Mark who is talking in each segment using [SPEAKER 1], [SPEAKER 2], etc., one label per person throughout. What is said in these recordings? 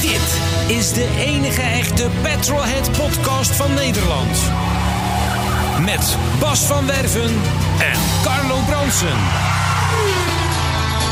[SPEAKER 1] Dit is de enige echte Petrolhead podcast van Nederland. Met Bas van Werven en Carlo Bronsen.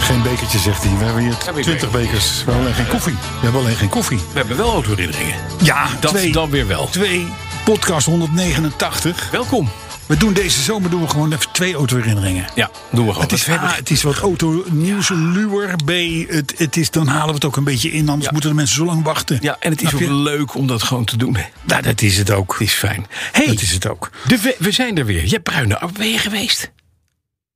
[SPEAKER 2] Geen bekertje, zegt hij. We hebben hier
[SPEAKER 3] Heb ik
[SPEAKER 2] 20 bekers. We hebben alleen geen koffie. We hebben alleen geen koffie.
[SPEAKER 3] We hebben wel autoherinneringen.
[SPEAKER 2] Ja,
[SPEAKER 3] Dat dan weer wel.
[SPEAKER 2] Twee, podcast 189.
[SPEAKER 3] Welkom.
[SPEAKER 2] We doen deze zomer doen we gewoon even twee autoherinneringen.
[SPEAKER 3] Ja, doen we gewoon.
[SPEAKER 2] Het is,
[SPEAKER 3] We hebben-
[SPEAKER 2] A, het is wat autonieuws, luwer. B, het, het is, dan halen we het ook een beetje in. Anders
[SPEAKER 3] Ja.
[SPEAKER 2] moeten de mensen zo lang wachten.
[SPEAKER 3] ja, en het is
[SPEAKER 2] Snap
[SPEAKER 3] ook
[SPEAKER 2] je?
[SPEAKER 3] leuk om dat gewoon te doen.
[SPEAKER 2] Nou, dat is het ook.
[SPEAKER 3] Het is fijn. Hey,
[SPEAKER 2] Dat is het ook.
[SPEAKER 3] de we, we zijn er weer. Jij bruine, oh, ben je geweest?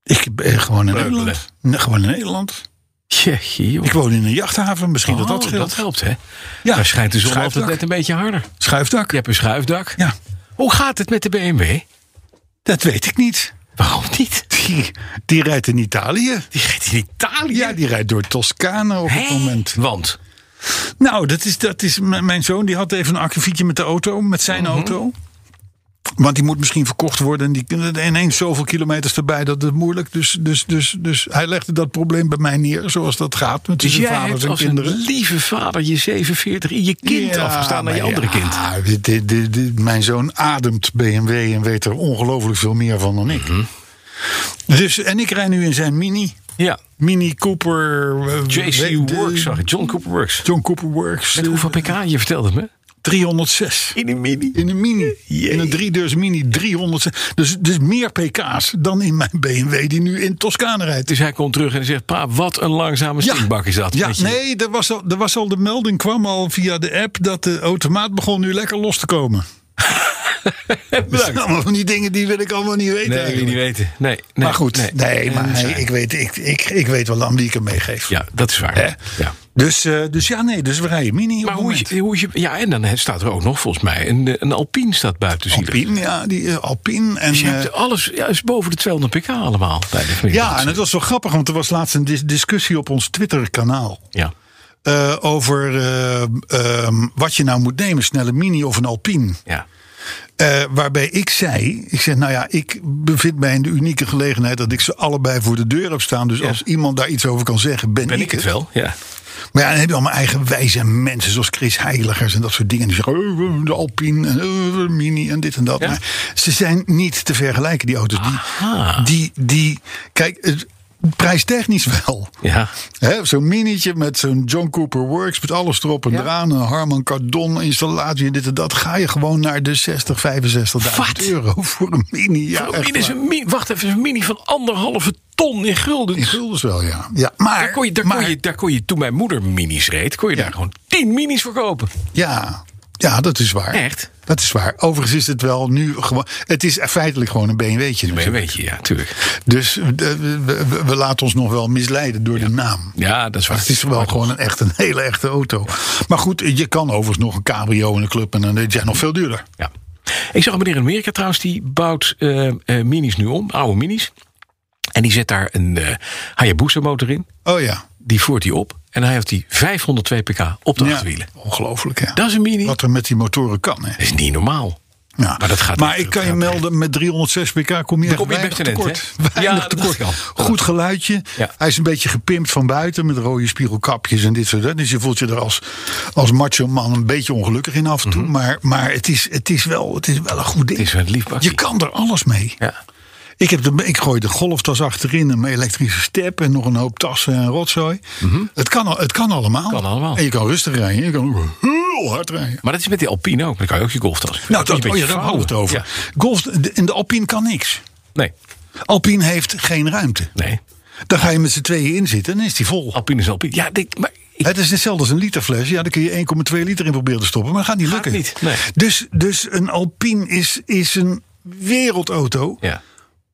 [SPEAKER 2] Ik ben gewoon in
[SPEAKER 3] Breukelen.
[SPEAKER 2] Nederland. Nee, gewoon in Nederland.
[SPEAKER 3] Jeetje, joh.
[SPEAKER 2] Ik woon in een jachthaven. Misschien dat dat
[SPEAKER 3] Oh,
[SPEAKER 2] scheelt.
[SPEAKER 3] helpt, hè?
[SPEAKER 2] Ja,
[SPEAKER 3] Daar schijnt de zon altijd
[SPEAKER 2] schuifdak.
[SPEAKER 3] net een beetje harder.
[SPEAKER 2] Schuifdak.
[SPEAKER 3] Je hebt een schuifdak.
[SPEAKER 2] Ja,
[SPEAKER 3] Hoe gaat het met de BMW?
[SPEAKER 2] dat weet ik niet.
[SPEAKER 3] Waarom niet?
[SPEAKER 2] Die, die rijdt in Italië.
[SPEAKER 3] Die gaat in Italië.
[SPEAKER 2] Ja, die rijdt door Toscane op het
[SPEAKER 3] Hè?
[SPEAKER 2] moment.
[SPEAKER 3] Want?
[SPEAKER 2] Nou, dat is, dat is m- mijn zoon. Die had even een akkefietje met de auto, met zijn
[SPEAKER 3] Mhm.
[SPEAKER 2] auto. Want die moet misschien verkocht worden. En die kunnen ineens zoveel kilometers erbij. Dat is moeilijk. Dus, dus, dus, dus hij legde dat probleem bij mij neer. Zoals dat gaat met
[SPEAKER 3] Dus
[SPEAKER 2] zijn
[SPEAKER 3] jij
[SPEAKER 2] vaders
[SPEAKER 3] hebt
[SPEAKER 2] en
[SPEAKER 3] als
[SPEAKER 2] kinderen.
[SPEAKER 3] een lieve vader je 47 in je kind
[SPEAKER 2] Ja,
[SPEAKER 3] afgestaan naar je
[SPEAKER 2] maar
[SPEAKER 3] andere
[SPEAKER 2] ja,
[SPEAKER 3] kind.
[SPEAKER 2] dit- dit- dit- dit- mijn zoon ademt BMW en weet er ongelooflijk veel meer van dan
[SPEAKER 3] Mhm.
[SPEAKER 2] ik. Dus, en ik rij nu in zijn Mini.
[SPEAKER 3] Ja.
[SPEAKER 2] Mini Cooper. eh,
[SPEAKER 3] JC
[SPEAKER 2] weet-
[SPEAKER 3] Works, zag ik. John Cooper Works. eh,
[SPEAKER 2] John Cooper Works.
[SPEAKER 3] Met hoeveel pk? Je vertelde het me.
[SPEAKER 2] 306.
[SPEAKER 3] In een mini.
[SPEAKER 2] In een mini.
[SPEAKER 3] Jee.
[SPEAKER 2] In een driedeurs mini 300. Dus, dus meer pk's dan in mijn BMW die nu in Toscane rijdt.
[SPEAKER 3] Dus hij komt terug en hij zegt, pa, wat een langzame stinkbak is dat.
[SPEAKER 2] Ja,
[SPEAKER 3] Weet je,
[SPEAKER 2] nee, er was, al, er was al de melding, kwam al via de app dat de automaat begon nu lekker los te komen. Dat zijn allemaal van die dingen die wil ik allemaal niet weten.
[SPEAKER 3] Nee, wil je
[SPEAKER 2] eigenlijk.
[SPEAKER 3] niet weten. Nee, nee,
[SPEAKER 2] maar goed, nee, maar
[SPEAKER 3] dat is
[SPEAKER 2] nee,
[SPEAKER 3] waar.
[SPEAKER 2] ik, weet, ik, ik, ik weet wel aan wie ik hem meegeef.
[SPEAKER 3] Ja, dat is waar.
[SPEAKER 2] Hè?
[SPEAKER 3] Ja.
[SPEAKER 2] Dus, eh, dus ja, nee, dus we rijden mini.
[SPEAKER 3] Maar
[SPEAKER 2] op het
[SPEAKER 3] hoe is,
[SPEAKER 2] moment.
[SPEAKER 3] je- hoe is je... Ja, en dan staat er ook nog volgens mij een, eh, een Alpine staat buiten zielig.
[SPEAKER 2] Alpine, ja, die eh, Alpine. En,
[SPEAKER 3] Dus je
[SPEAKER 2] eh,
[SPEAKER 3] hebt alles, ja, is boven de 200 pk allemaal. Bij de familie.
[SPEAKER 2] ja, en het was wel grappig, want er was laatst een dis- discussie op ons Twitter-kanaal.
[SPEAKER 3] ja.
[SPEAKER 2] eh, over eh, ehm, wat je nou moet nemen, snelle mini of een Alpine.
[SPEAKER 3] ja.
[SPEAKER 2] Eh, waarbij ik zei, ik zeg, nou ja, ik bevind mij in de unieke gelegenheid dat ik ze allebei voor de deur heb staan. Dus
[SPEAKER 3] Ja.
[SPEAKER 2] als iemand daar iets over kan zeggen, ben,
[SPEAKER 3] Ben ik het wel? Ja.
[SPEAKER 2] Maar ja, dan heb je allemaal eigen wijze mensen, zoals Chris Heiligers en dat soort dingen. Die zeggen, eh, de Alpine en eh, Mini en dit en dat.
[SPEAKER 3] Ja.
[SPEAKER 2] Maar ze zijn niet te vergelijken, die auto's.
[SPEAKER 3] Aha.
[SPEAKER 2] Die, die, die, kijk, het- prijstechnisch wel.
[SPEAKER 3] Ja.
[SPEAKER 2] Hè, Zo'n minietje met zo'n John Cooper Works, met alles erop en eraan. Een Harman Kardon installatie en dit en dat. Ga je gewoon naar de 60, 65.000
[SPEAKER 3] Wat?
[SPEAKER 2] euro voor een mini. Ja,
[SPEAKER 3] Oh,
[SPEAKER 2] echt
[SPEAKER 3] dit is
[SPEAKER 2] waar.
[SPEAKER 3] een mini, wacht even, een mini van anderhalve ton in gulden.
[SPEAKER 2] In guldens wel, ja. ja maar,
[SPEAKER 3] Daar kon, je, daar,
[SPEAKER 2] maar-
[SPEAKER 3] kon je, daar kon je, toen mijn moeder minis reed, kon je
[SPEAKER 2] Ja.
[SPEAKER 3] daar gewoon 10 minis voor kopen.
[SPEAKER 2] Ja, ja, dat is waar.
[SPEAKER 3] Echt?
[SPEAKER 2] Dat is waar. Overigens is het wel nu gewoon. Het is feitelijk gewoon een BMW'tje.
[SPEAKER 3] Maar
[SPEAKER 2] natuurlijk.
[SPEAKER 3] ja, weet je, ja, tuurlijk.
[SPEAKER 2] Dus eh, we, we- we laten ons nog wel misleiden door de naam.
[SPEAKER 3] Ja, dat is waar.
[SPEAKER 2] Het is wel
[SPEAKER 3] Maar
[SPEAKER 2] gewoon een, echt, een hele echte auto. Maar goed, je kan overigens nog een cabrio in een club en dan is jij nog veel duurder.
[SPEAKER 3] Ja. Ik zag een meneer in Amerika trouwens, die bouwt eh, eh, minis nu om, oude minis. En die zet daar een eh, Hayabusa motor in,
[SPEAKER 2] Oh ja.
[SPEAKER 3] die voert hij op. En hij heeft die 502 pk op de
[SPEAKER 2] ja.
[SPEAKER 3] achterwielen.
[SPEAKER 2] Ongelooflijk, hè?
[SPEAKER 3] Dat is een mini.
[SPEAKER 2] Wat er met die motoren kan, hè?
[SPEAKER 3] Dat is niet normaal.
[SPEAKER 2] Ja.
[SPEAKER 3] Maar dat gaat
[SPEAKER 2] maar
[SPEAKER 3] niet,
[SPEAKER 2] ik
[SPEAKER 3] dat
[SPEAKER 2] kan je
[SPEAKER 3] gaat
[SPEAKER 2] melden, met 306 pk kom je echt
[SPEAKER 3] kom je
[SPEAKER 2] weinig
[SPEAKER 3] best in het,
[SPEAKER 2] tekort.
[SPEAKER 3] hè? Ja,
[SPEAKER 2] Weinig
[SPEAKER 3] dat
[SPEAKER 2] tekort.
[SPEAKER 3] kan.
[SPEAKER 2] Goed geluidje.
[SPEAKER 3] Ja.
[SPEAKER 2] Hij is een beetje gepimpt van buiten met rode spiegelkapjes en dit soort dingen. Dus je voelt je er als, als macho man een beetje ongelukkig in af en toe. Maar, maar het, is, het, is wel, het is wel een goed ding.
[SPEAKER 3] Mhm. Het is een lief bakje.
[SPEAKER 2] je kan er alles mee.
[SPEAKER 3] Ja.
[SPEAKER 2] Ik, heb de, ik gooi de golftas achterin en mijn elektrische step en nog een hoop tassen en rotzooi. het, kan, al- het kan allemaal.
[SPEAKER 3] Mhm. Kan allemaal.
[SPEAKER 2] En je kan rustig rijden. Je kan ook heel hard rijden.
[SPEAKER 3] Maar dat is met die Alpine ook. Dan kan je ook je golftas.
[SPEAKER 2] Nou,
[SPEAKER 3] Dan
[SPEAKER 2] dat,
[SPEAKER 3] kun
[SPEAKER 2] oh
[SPEAKER 3] je
[SPEAKER 2] ja,
[SPEAKER 3] een
[SPEAKER 2] daar
[SPEAKER 3] beetje
[SPEAKER 2] hadden we het
[SPEAKER 3] vouwen.
[SPEAKER 2] over. Golf, de, en de Alpine kan niks.
[SPEAKER 3] Ja. Nee,
[SPEAKER 2] Alpine heeft geen ruimte.
[SPEAKER 3] nee.
[SPEAKER 2] Dan ga je met z'n tweeën in zitten en is die vol.
[SPEAKER 3] Alpine is Alpine. Ja, dit, maar ik-
[SPEAKER 2] Het is hetzelfde als een literfles. Ja, daar kun je 1,2 liter in proberen te stoppen, maar gaat niet
[SPEAKER 3] Gaat
[SPEAKER 2] lukken.
[SPEAKER 3] niet, nee.
[SPEAKER 2] Dus, dus een Alpine is, is een wereldauto,
[SPEAKER 3] ja,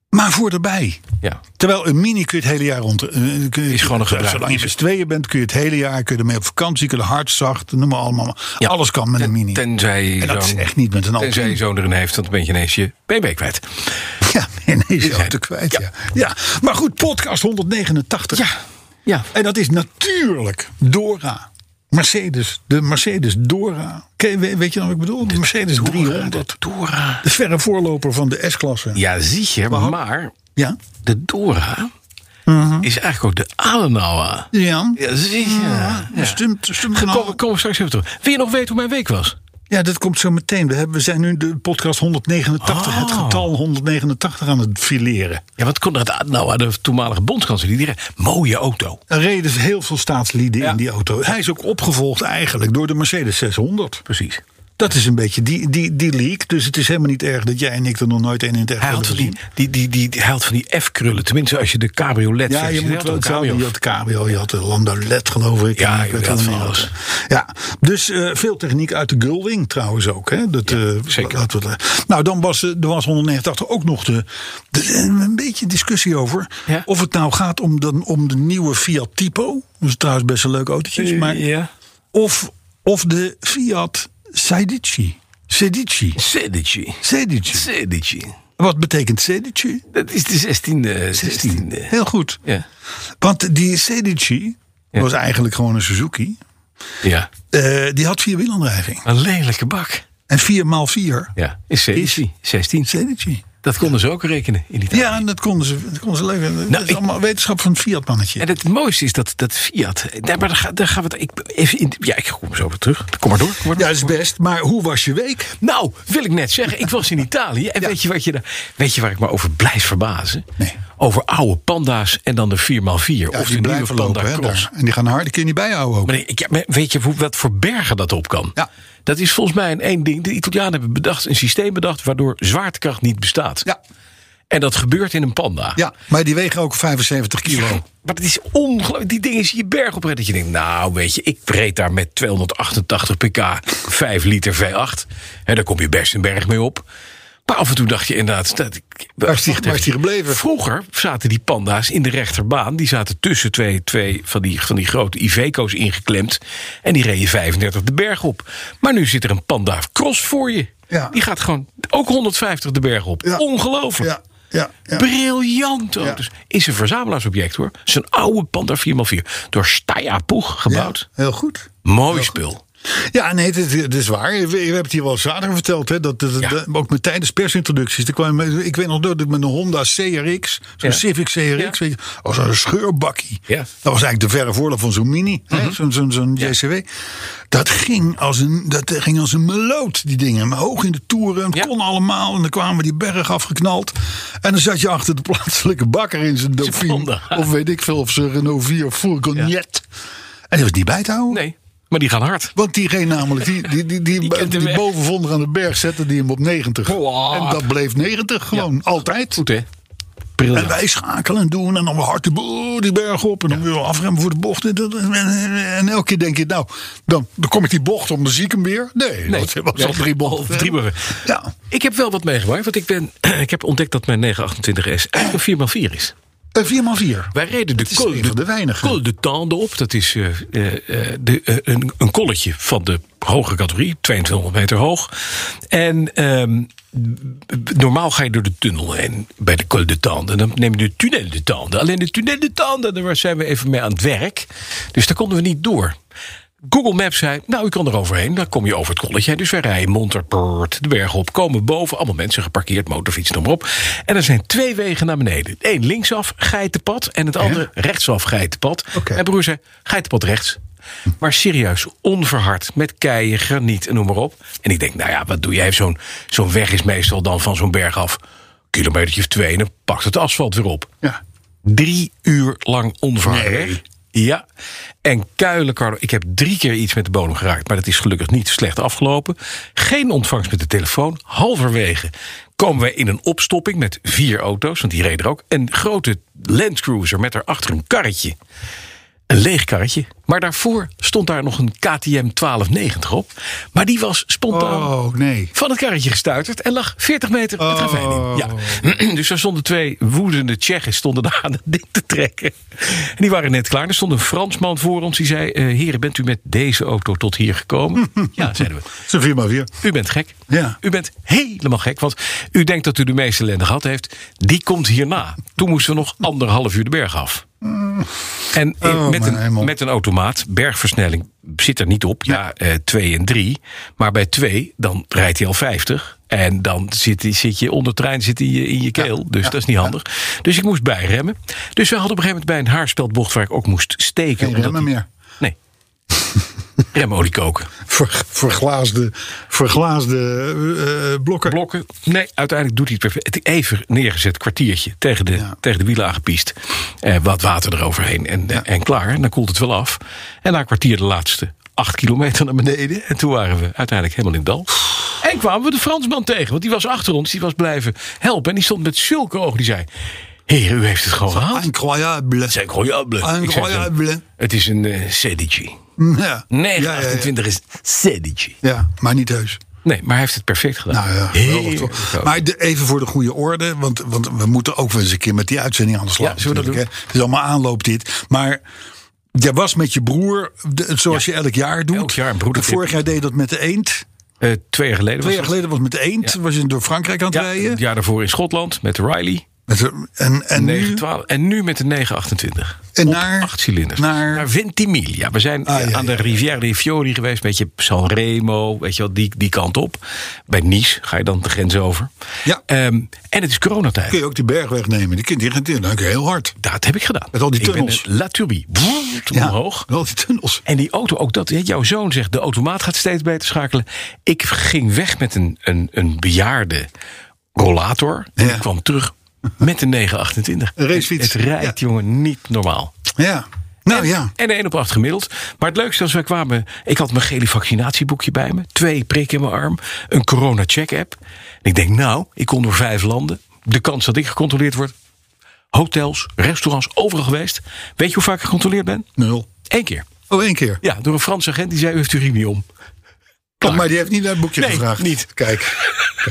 [SPEAKER 2] maar voor erbij.
[SPEAKER 3] ja.
[SPEAKER 2] Terwijl een mini kun je het hele jaar rond. eh, kun je-
[SPEAKER 3] Is gewoon een gebruik.
[SPEAKER 2] Zolang je met z'n tweeën bent, kun je het hele jaar kun je ermee op vakantie, kun je er hard, zacht, noem maar allemaal.
[SPEAKER 3] Ja.
[SPEAKER 2] Alles kan met een mini.
[SPEAKER 3] Tenzij je
[SPEAKER 2] en dat is
[SPEAKER 3] zo'n-
[SPEAKER 2] echt niet met een
[SPEAKER 3] Tenzij je
[SPEAKER 2] Alpine.
[SPEAKER 3] zoon erin heeft, dan ben je ineens je BB kwijt.
[SPEAKER 2] Ja, ineens je
[SPEAKER 3] zijn-
[SPEAKER 2] auto kwijt. Ja. Ja. maar goed, podcast 189.
[SPEAKER 3] Ja.
[SPEAKER 2] En dat is natuurlijk Dora. Mercedes, de Mercedes Dora. Ken- we- Weet je nou wat ik bedoel? De Mercedes 300.
[SPEAKER 3] Dora.
[SPEAKER 2] De verre voorloper van de S-klasse.
[SPEAKER 3] Ja, zie je, maar
[SPEAKER 2] Ja?
[SPEAKER 3] de Dora
[SPEAKER 2] Mhm.
[SPEAKER 3] is eigenlijk ook de Adenauer.
[SPEAKER 2] Ja.
[SPEAKER 3] Ja, zie
[SPEAKER 2] Mhm.
[SPEAKER 3] je. Ja.
[SPEAKER 2] Stumt, stumt
[SPEAKER 3] Kom, kom straks even terug. Wil je nog weten hoe mijn week was?
[SPEAKER 2] nou. Ja, dat komt zo meteen. We, hebben, we zijn nu de podcast 189, het
[SPEAKER 3] Oh.
[SPEAKER 2] getal 189 aan het fileren.
[SPEAKER 3] Ja, want Konrad Adenauer, de toenmalige bondskanselier, die zei, mooie auto.
[SPEAKER 2] Er reden heel veel staatslieden
[SPEAKER 3] Ja.
[SPEAKER 2] in die auto. Hij is ook opgevolgd eigenlijk door de Mercedes 600.
[SPEAKER 3] Precies.
[SPEAKER 2] Dat is een beetje die, die, die leak. Dus het is helemaal niet erg dat jij en ik er nog nooit één in het echt
[SPEAKER 3] Hij had
[SPEAKER 2] hebben
[SPEAKER 3] van
[SPEAKER 2] gezien.
[SPEAKER 3] die, die, die, die, die- hij had van die F-krullen. Tenminste, als je de cabriolet
[SPEAKER 2] Ja,
[SPEAKER 3] versie-
[SPEAKER 2] je
[SPEAKER 3] hij
[SPEAKER 2] moet
[SPEAKER 3] had
[SPEAKER 2] wel
[SPEAKER 3] een
[SPEAKER 2] hetzelfde. Je had de cabrio, je had de landolet E geloof ik.
[SPEAKER 3] Ja,
[SPEAKER 2] En
[SPEAKER 3] je
[SPEAKER 2] weet
[SPEAKER 3] had
[SPEAKER 2] het
[SPEAKER 3] van
[SPEAKER 2] niet
[SPEAKER 3] alles.
[SPEAKER 2] wat. Ja, dus eh, veel techniek uit de Gullwing trouwens ook. Hè? Dat, eh,
[SPEAKER 3] zeker.
[SPEAKER 2] laten we het- nou, dan was eh, er was 189 ook nog de, de- een beetje discussie over.
[SPEAKER 3] Ja.
[SPEAKER 2] Of het nou gaat om de, om de nieuwe Fiat Tipo. Dat is trouwens best een leuk autootje. Maar,
[SPEAKER 3] Eh, Ja.
[SPEAKER 2] of, of de Fiat Sedici. Sedici.
[SPEAKER 3] Sedici.
[SPEAKER 2] Sedici.
[SPEAKER 3] Sedici.
[SPEAKER 2] Wat betekent Sedici?
[SPEAKER 3] Dat is de 16e.
[SPEAKER 2] 16.
[SPEAKER 3] 16e.
[SPEAKER 2] Heel goed.
[SPEAKER 3] Ja.
[SPEAKER 2] Want die Sedici
[SPEAKER 3] Ja.
[SPEAKER 2] was eigenlijk gewoon een Suzuki.
[SPEAKER 3] ja.
[SPEAKER 2] Eh, die had vierwielaandrijving.
[SPEAKER 3] Een lelijke bak.
[SPEAKER 2] En 4x4
[SPEAKER 3] Ja. Is Sedici. 16.
[SPEAKER 2] Sedici.
[SPEAKER 3] Dat konden ze ook rekenen in die tijd.
[SPEAKER 2] Ja, en dat konden ze, dat konden ze leuk. dat is
[SPEAKER 3] Nou, ik-
[SPEAKER 2] allemaal wetenschap van het Fiat-mannetje.
[SPEAKER 3] En het mooiste is dat, dat Fiat. Nee, maar daar, ga- daar gaan we het. Ik, even in, ja, ik kom zo weer terug. Kom maar door. Kom maar
[SPEAKER 2] Ja,
[SPEAKER 3] door.
[SPEAKER 2] dat is best. Maar hoe was je week?
[SPEAKER 3] Nou, wil ik net zeggen, ik was in Italië. En weet, je wat je daar, weet je waar ik me over blijf verbazen?
[SPEAKER 2] Nee.
[SPEAKER 3] Over oude panda's en dan de 4x4. of de nieuwe panda
[SPEAKER 2] hè,
[SPEAKER 3] cross.
[SPEAKER 2] daar. En die gaan hard. Die kun je niet bijhouden ook.
[SPEAKER 3] Maar ik- ja, maar weet je hoe, wat voor bergen dat op kan?
[SPEAKER 2] Ja.
[SPEAKER 3] Dat is volgens mij een één ding. De Italianen hebben bedacht, een systeem bedacht waardoor zwaartekracht niet bestaat.
[SPEAKER 2] Ja,
[SPEAKER 3] En dat gebeurt in een panda.
[SPEAKER 2] ja, maar die wegen ook 75 kilo.
[SPEAKER 3] Maar het is ongelooflijk. Die dingen zie je berg op Dat je denkt, nou weet je, ik reed daar met 288 pk, 5 liter V8. En daar kom je best een berg mee op. Maar af en toe dacht je inderdaad... Dat, waar
[SPEAKER 2] is die- waar is die gebleven?
[SPEAKER 3] Vroeger zaten die panda's in de rechterbaan. Die zaten tussen twee, twee van, die, van die grote Iveco's ingeklemd. En die reden 35 de berg op. Maar nu zit er een panda cross voor je.
[SPEAKER 2] Ja.
[SPEAKER 3] Die gaat gewoon ook 150 de berg op.
[SPEAKER 2] Ja.
[SPEAKER 3] Ongelooflijk.
[SPEAKER 2] Ja, ja, ja.
[SPEAKER 3] Briljant auto's. Is een verzamelaarsobject hoor. Is een oude Panda 4x4. Door Steyr Poeg
[SPEAKER 2] ja,
[SPEAKER 3] gebouwd.
[SPEAKER 2] heel goed.
[SPEAKER 3] Mooi spul.
[SPEAKER 2] Ja, nee, dit, dit is waar. We, we hebben het hier wel zaterdag verteld. Hè, dat, dat,
[SPEAKER 3] Ja.
[SPEAKER 2] dat- ook met tijdens persintroducties. Er kwam, ik weet nog dat ik met een Honda CRX, zo'n
[SPEAKER 3] Ja.
[SPEAKER 2] Civic CRX, weet je, als een scheurbakkie.
[SPEAKER 3] Ja. Mhm.
[SPEAKER 2] Dat was eigenlijk de verre voorloop van zo'n Mini, hè, zo'n zo'n zo'n JCW. Dat ging, als een, dat ging als een meloot, die dingen. Maar hoog in de toeren, het
[SPEAKER 3] Ja.
[SPEAKER 2] kon allemaal. En dan kwamen we die berg afgeknald. En dan zat je achter de plaatselijke bakker in zijn Dauphine.
[SPEAKER 3] Honda.
[SPEAKER 2] Of weet ik veel, of zijn Renault 4 of Fourgonnet. En die was niet bij te houden.
[SPEAKER 3] Nee, maar die gaan hard.
[SPEAKER 2] Want die ging namelijk, die, die, die, die, die,
[SPEAKER 3] kent de weg.
[SPEAKER 2] boven aan de berg zette die hem op 90.
[SPEAKER 3] Wow.
[SPEAKER 2] En dat bleef 90 gewoon, altijd.
[SPEAKER 3] Goed hè?
[SPEAKER 2] En
[SPEAKER 3] Briljant.
[SPEAKER 2] wij schakelen en doen en dan weer hard de, boe- die berg op. En dan weer afremmen voor de bocht. En, dat- en- en- en elke keer denk je, nou, dan, dan kom ik die bocht om, dan zie ik hem weer. Nee,
[SPEAKER 3] Nee,
[SPEAKER 2] dat was
[SPEAKER 3] nee,
[SPEAKER 2] al drie bochten.
[SPEAKER 3] al drie bochten.
[SPEAKER 2] Ja,
[SPEAKER 3] Ik heb wel wat meegemaakt. Want ik, ben, ik heb ontdekt dat mijn 928S eigenlijk een 4x4 is.
[SPEAKER 2] een 4x4.
[SPEAKER 3] Wij reden de
[SPEAKER 2] is
[SPEAKER 3] col,
[SPEAKER 2] een
[SPEAKER 3] de,
[SPEAKER 2] van de weinigen.
[SPEAKER 3] col de tande op. Dat is eh, eh, eh, de, eh, een, een kolletje van de hoge categorie, 2200 meter hoog. En ehm, b- normaal ga je door de tunnel heen bij de col de tande. Dan neem je de tunnel de tande. Alleen de tunnel de tande, daar zijn we even mee aan het werk. Dus daar konden we niet door. Google Maps zei, nou, u kan er overheen. Dan kom je over het colletje. Dus wij rijden monter, prrrt, de berg op, komen boven. Allemaal mensen geparkeerd, motorfiets, noem maar op. En er zijn twee wegen naar beneden. Eén linksaf, geitenpad. En het andere rechtsaf, geitenpad.
[SPEAKER 2] Oké.
[SPEAKER 3] En broer zei, geitenpad rechts. Maar serieus, onverhard, met keien, graniet en noem maar op. En ik denk, nou ja, wat doe jij? Zo'n zo'n weg is meestal dan van zo'n berg af... kilometertje of twee en dan pakt het asfalt weer op.
[SPEAKER 2] Ja.
[SPEAKER 3] Drie uur lang onverharder.
[SPEAKER 2] Nee.
[SPEAKER 3] Ja. En kuilen, Carlo. Ik heb drie keer iets met de bodem geraakt. Maar dat is gelukkig niet slecht afgelopen. Geen ontvangst met de telefoon. Halverwege komen wij in een opstopping met vier auto's. Want die reden er ook. Een grote Land Cruiser met daarachter een karretje. Een leeg karretje. Maar daarvoor stond daar nog een KTM 1290 op. Maar die was spontaan
[SPEAKER 2] Oh, nee.
[SPEAKER 3] van het karretje gestuiterd en lag 40 meter
[SPEAKER 2] Oh.
[SPEAKER 3] het ravijn in. Ja. dus daar stonden twee woedende Tsjechen stonden daar aan het ding te trekken. En die waren net klaar. Er stond een Fransman voor ons die zei... eh, heren, bent u met deze auto tot hier gekomen? ja, zeiden we.
[SPEAKER 2] Het is een 4x4.
[SPEAKER 3] U bent gek.
[SPEAKER 2] Ja.
[SPEAKER 3] U bent helemaal gek, want u denkt dat u de meeste ellende gehad heeft. Die komt hierna. Toen moesten we nog anderhalf uur de berg af. En in-
[SPEAKER 2] Mm. Oh,
[SPEAKER 3] met,
[SPEAKER 2] mijn hemel.
[SPEAKER 3] een, met een automaat, bergversnelling zit er niet op. Ja, eh, twee en drie. Maar bij twee, dan rijdt hij al 50. En dan zit, hij- zit je onder trein zit hij in je- in je keel. dus dat is niet handig. Dus ik moest bijremmen. Dus we hadden op een gegeven moment bij een haarspeldbocht... waar ik ook moest steken.
[SPEAKER 2] Geen
[SPEAKER 3] omdat
[SPEAKER 2] remmen
[SPEAKER 3] die-
[SPEAKER 2] meer.
[SPEAKER 3] Nee. Remolie koken.
[SPEAKER 2] Ver, verglaasde verglaasde eh, eh, blokken.
[SPEAKER 3] blokken. Nee, uiteindelijk doet hij het perfect. Het Even neergezet, kwartiertje, tegen de,
[SPEAKER 2] Ja.
[SPEAKER 3] tegen de wielen aangepiest. Eh, wat water eroverheen en, eh, en klaar. En dan koelt het wel af. En na een kwartier de laatste acht kilometer naar beneden. En toen waren we uiteindelijk helemaal in het dal. En kwamen we de Fransman tegen, want die was achter ons. Die was blijven helpen. En die stond met zulke ogen, die zei... Heer, u heeft het gewoon gehaald.
[SPEAKER 2] Incroyable.
[SPEAKER 3] Dat is incroyable. Ik zeg,
[SPEAKER 2] Incroyable.
[SPEAKER 3] Het is een eh CDG.
[SPEAKER 2] Ja.
[SPEAKER 3] 928 is CDG.
[SPEAKER 2] Ja, ja, ja, maar niet heus.
[SPEAKER 3] Nee, maar hij heeft het perfect gedaan.
[SPEAKER 2] Nou ja, geweldig toch? Maar de- even voor de goede orde, want, want we moeten ook wel eens een keer met die uitzending aan de slag.
[SPEAKER 3] Ja, zullen we dat
[SPEAKER 2] natuurlijk, hè. Het is allemaal aanloop dit. Maar jij was met je broer, de- zoals je elk jaar doet.
[SPEAKER 3] Elk jaar een broedertip.
[SPEAKER 2] Vorig jaar deed je dat met de eend.
[SPEAKER 3] Eh, twee jaar geleden
[SPEAKER 2] Twee
[SPEAKER 3] was
[SPEAKER 2] jaar geleden was het met de eend.
[SPEAKER 3] Ja.
[SPEAKER 2] Was je door Frankrijk aan het
[SPEAKER 3] Ja,
[SPEAKER 2] rijden.
[SPEAKER 3] het jaar daarvoor in Schotland met de Riley.
[SPEAKER 2] Met de- en, en nu,
[SPEAKER 3] 912, en nu met de 928.
[SPEAKER 2] En
[SPEAKER 3] Op
[SPEAKER 2] naar-
[SPEAKER 3] acht cilinders.
[SPEAKER 2] naar-
[SPEAKER 3] Ventimiglia. We zijn
[SPEAKER 2] Ah,
[SPEAKER 3] eh,
[SPEAKER 2] ja,
[SPEAKER 3] aan
[SPEAKER 2] ja,
[SPEAKER 3] de Riviera dei Fiori geweest. Beetje Sanremo, weet je wel, die, die kant op. Bij Nice ga je dan de grens over.
[SPEAKER 2] Ja.
[SPEAKER 3] Ehm, en het is coronatijd.
[SPEAKER 2] kun je ook die berg wegnemen. Die kind die gaat in, dan kun je heel hard.
[SPEAKER 3] Dat heb ik gedaan.
[SPEAKER 2] Met al die tunnels.
[SPEAKER 3] Ik ben een La Turbie. Brrrt, Omhoog.
[SPEAKER 2] Wel die tunnels.
[SPEAKER 3] En die auto, ook dat, hè, jouw zoon zegt, de automaat gaat steeds beter schakelen. Ik ging weg met een, een, een bejaarde rollator. En
[SPEAKER 2] Ja.
[SPEAKER 3] ik kwam terug met een 928.
[SPEAKER 2] Een racefiets.
[SPEAKER 3] Het, het rijdt, jongen, niet normaal.
[SPEAKER 2] Ja. Nou ja.
[SPEAKER 3] En de 1 op 8 gemiddeld. Maar het leukste was, wij kwamen... Ik had mijn gele vaccinatieboekje bij me. Twee prikken in mijn arm. Een corona-check-app. En ik denk, nou, ik kon door vijf landen. De kans dat ik gecontroleerd word... Hotels, restaurants, overal geweest. Weet je hoe vaak ik gecontroleerd ben?
[SPEAKER 2] Nul.
[SPEAKER 3] Eén keer.
[SPEAKER 2] Oh, één keer.
[SPEAKER 3] Ja, door een Franse agent die zei: U heeft uw riem niet om.
[SPEAKER 2] Oh, maar die heeft niet naar het boekje
[SPEAKER 3] Nee,
[SPEAKER 2] gevraagd.
[SPEAKER 3] niet.
[SPEAKER 2] Kijk,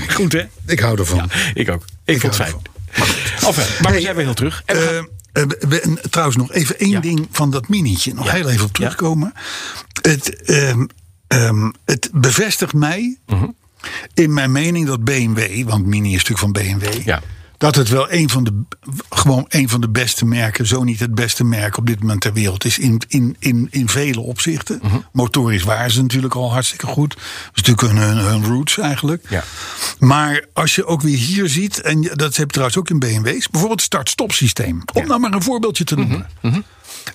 [SPEAKER 3] Goed, hè?
[SPEAKER 2] ik hou ervan.
[SPEAKER 3] Ik ook. Ik, vond het
[SPEAKER 2] hou
[SPEAKER 3] fijn. Enfin, maar
[SPEAKER 2] Hey,
[SPEAKER 3] we zijn weer heel terug. En we
[SPEAKER 2] Eh,
[SPEAKER 3] gaan-
[SPEAKER 2] eh, we- en trouwens, nog even één
[SPEAKER 3] Ja.
[SPEAKER 2] ding van dat minietje. Nog
[SPEAKER 3] Ja.
[SPEAKER 2] heel even op terugkomen. Het, ehm, ehm, het bevestigt mij
[SPEAKER 3] Mhm.
[SPEAKER 2] in mijn mening dat BMW, want Mini is natuurlijk van BMW.
[SPEAKER 3] Ja.
[SPEAKER 2] Dat het wel een van, de, gewoon een van de beste merken, zo niet het beste merk op dit moment ter wereld is. In, in, in, in vele opzichten. Motorisch waren ze natuurlijk al hartstikke goed. Dat is natuurlijk hun, hun, hun roots eigenlijk.
[SPEAKER 3] Ja.
[SPEAKER 2] Maar als je ook weer hier ziet, en je- dat heb je trouwens ook in BMW's, bijvoorbeeld het start-stop systeem. Om nou maar een voorbeeldje te noemen.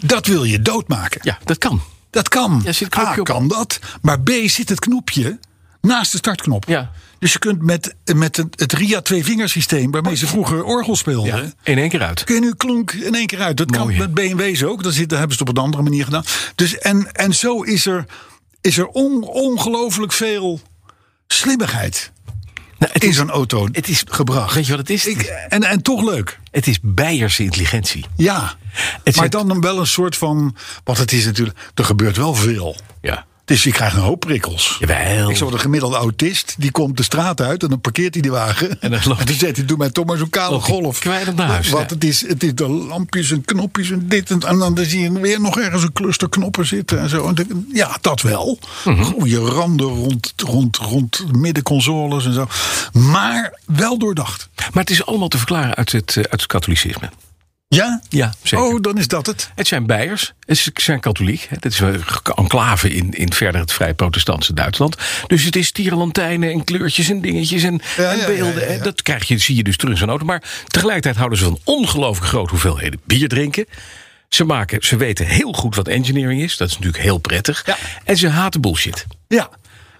[SPEAKER 2] Dat wil je doodmaken.
[SPEAKER 3] ja, dat kan.
[SPEAKER 2] Dat kan.
[SPEAKER 3] Ja, zit een
[SPEAKER 2] A
[SPEAKER 3] knopje op.
[SPEAKER 2] kan dat, maar B zit het knopje naast de startknop.
[SPEAKER 3] Ja.
[SPEAKER 2] Dus je kunt met, met het, het RIA twee vingersysteem, waarmee ze vroeger orgel speelden.
[SPEAKER 3] In één keer uit.
[SPEAKER 2] Kun je nu klonk in één keer uit. Dat
[SPEAKER 3] Mooi,
[SPEAKER 2] kan
[SPEAKER 3] hè?
[SPEAKER 2] met BMW's ook. Dat, zit, dat hebben ze het op een andere manier gedaan. Dus en, en zo is er, is er on, ongelooflijk veel slimmigheid
[SPEAKER 3] Nou, het
[SPEAKER 2] in
[SPEAKER 3] is,
[SPEAKER 2] zo'n auto
[SPEAKER 3] het is
[SPEAKER 2] gebracht.
[SPEAKER 3] Weet je wat het is?
[SPEAKER 2] Ik, en, en toch leuk.
[SPEAKER 3] het is Beierse intelligentie.
[SPEAKER 2] Ja. maar
[SPEAKER 3] zit-
[SPEAKER 2] dan dan wel een soort van. Want het is natuurlijk. Er gebeurt wel veel.
[SPEAKER 3] Ja.
[SPEAKER 2] Dus je krijgt een hoop prikkels.
[SPEAKER 3] Jawel.
[SPEAKER 2] Ik zag de gemiddelde autist. Die komt de straat uit. En dan parkeert hij die wagen.
[SPEAKER 3] En dan loopt hij-
[SPEAKER 2] zegt hij. Doe mij toch maar zo'n kale
[SPEAKER 3] Loopt hij
[SPEAKER 2] golf.
[SPEAKER 3] kwijlend naar huis,
[SPEAKER 2] Want
[SPEAKER 3] ja.
[SPEAKER 2] het is, het is de lampjes en knopjes en dit. En, en dan zie je weer nog ergens een cluster knoppen zitten. En zo. En dan- ja, dat wel.
[SPEAKER 3] Mhm.
[SPEAKER 2] Goeie randen rond, rond, rond middenconsoles en zo. Maar wel doordacht.
[SPEAKER 3] Maar het is allemaal te verklaren uit het, eh, uit het katholicisme.
[SPEAKER 2] Ja?
[SPEAKER 3] Ja, zeker.
[SPEAKER 2] Oh, dan is dat het.
[SPEAKER 3] Het zijn Beiers, ze zijn katholiek. Hè. Dat is een enclave in, in verder het vrij protestantse Duitsland. Dus het is tierenlantijnen en kleurtjes en dingetjes en,
[SPEAKER 2] Ja,
[SPEAKER 3] en
[SPEAKER 2] ja,
[SPEAKER 3] beelden.
[SPEAKER 2] ja, ja,
[SPEAKER 3] hè.
[SPEAKER 2] ja.
[SPEAKER 3] Dat krijg je, zie je dus terug in zo'n auto. Maar tegelijkertijd houden ze van ongelooflijk grote hoeveelheden bier drinken. Ze, maken, ze weten heel goed wat engineering is. Dat is natuurlijk heel prettig.
[SPEAKER 2] Ja.
[SPEAKER 3] En ze haten bullshit.
[SPEAKER 2] Ja.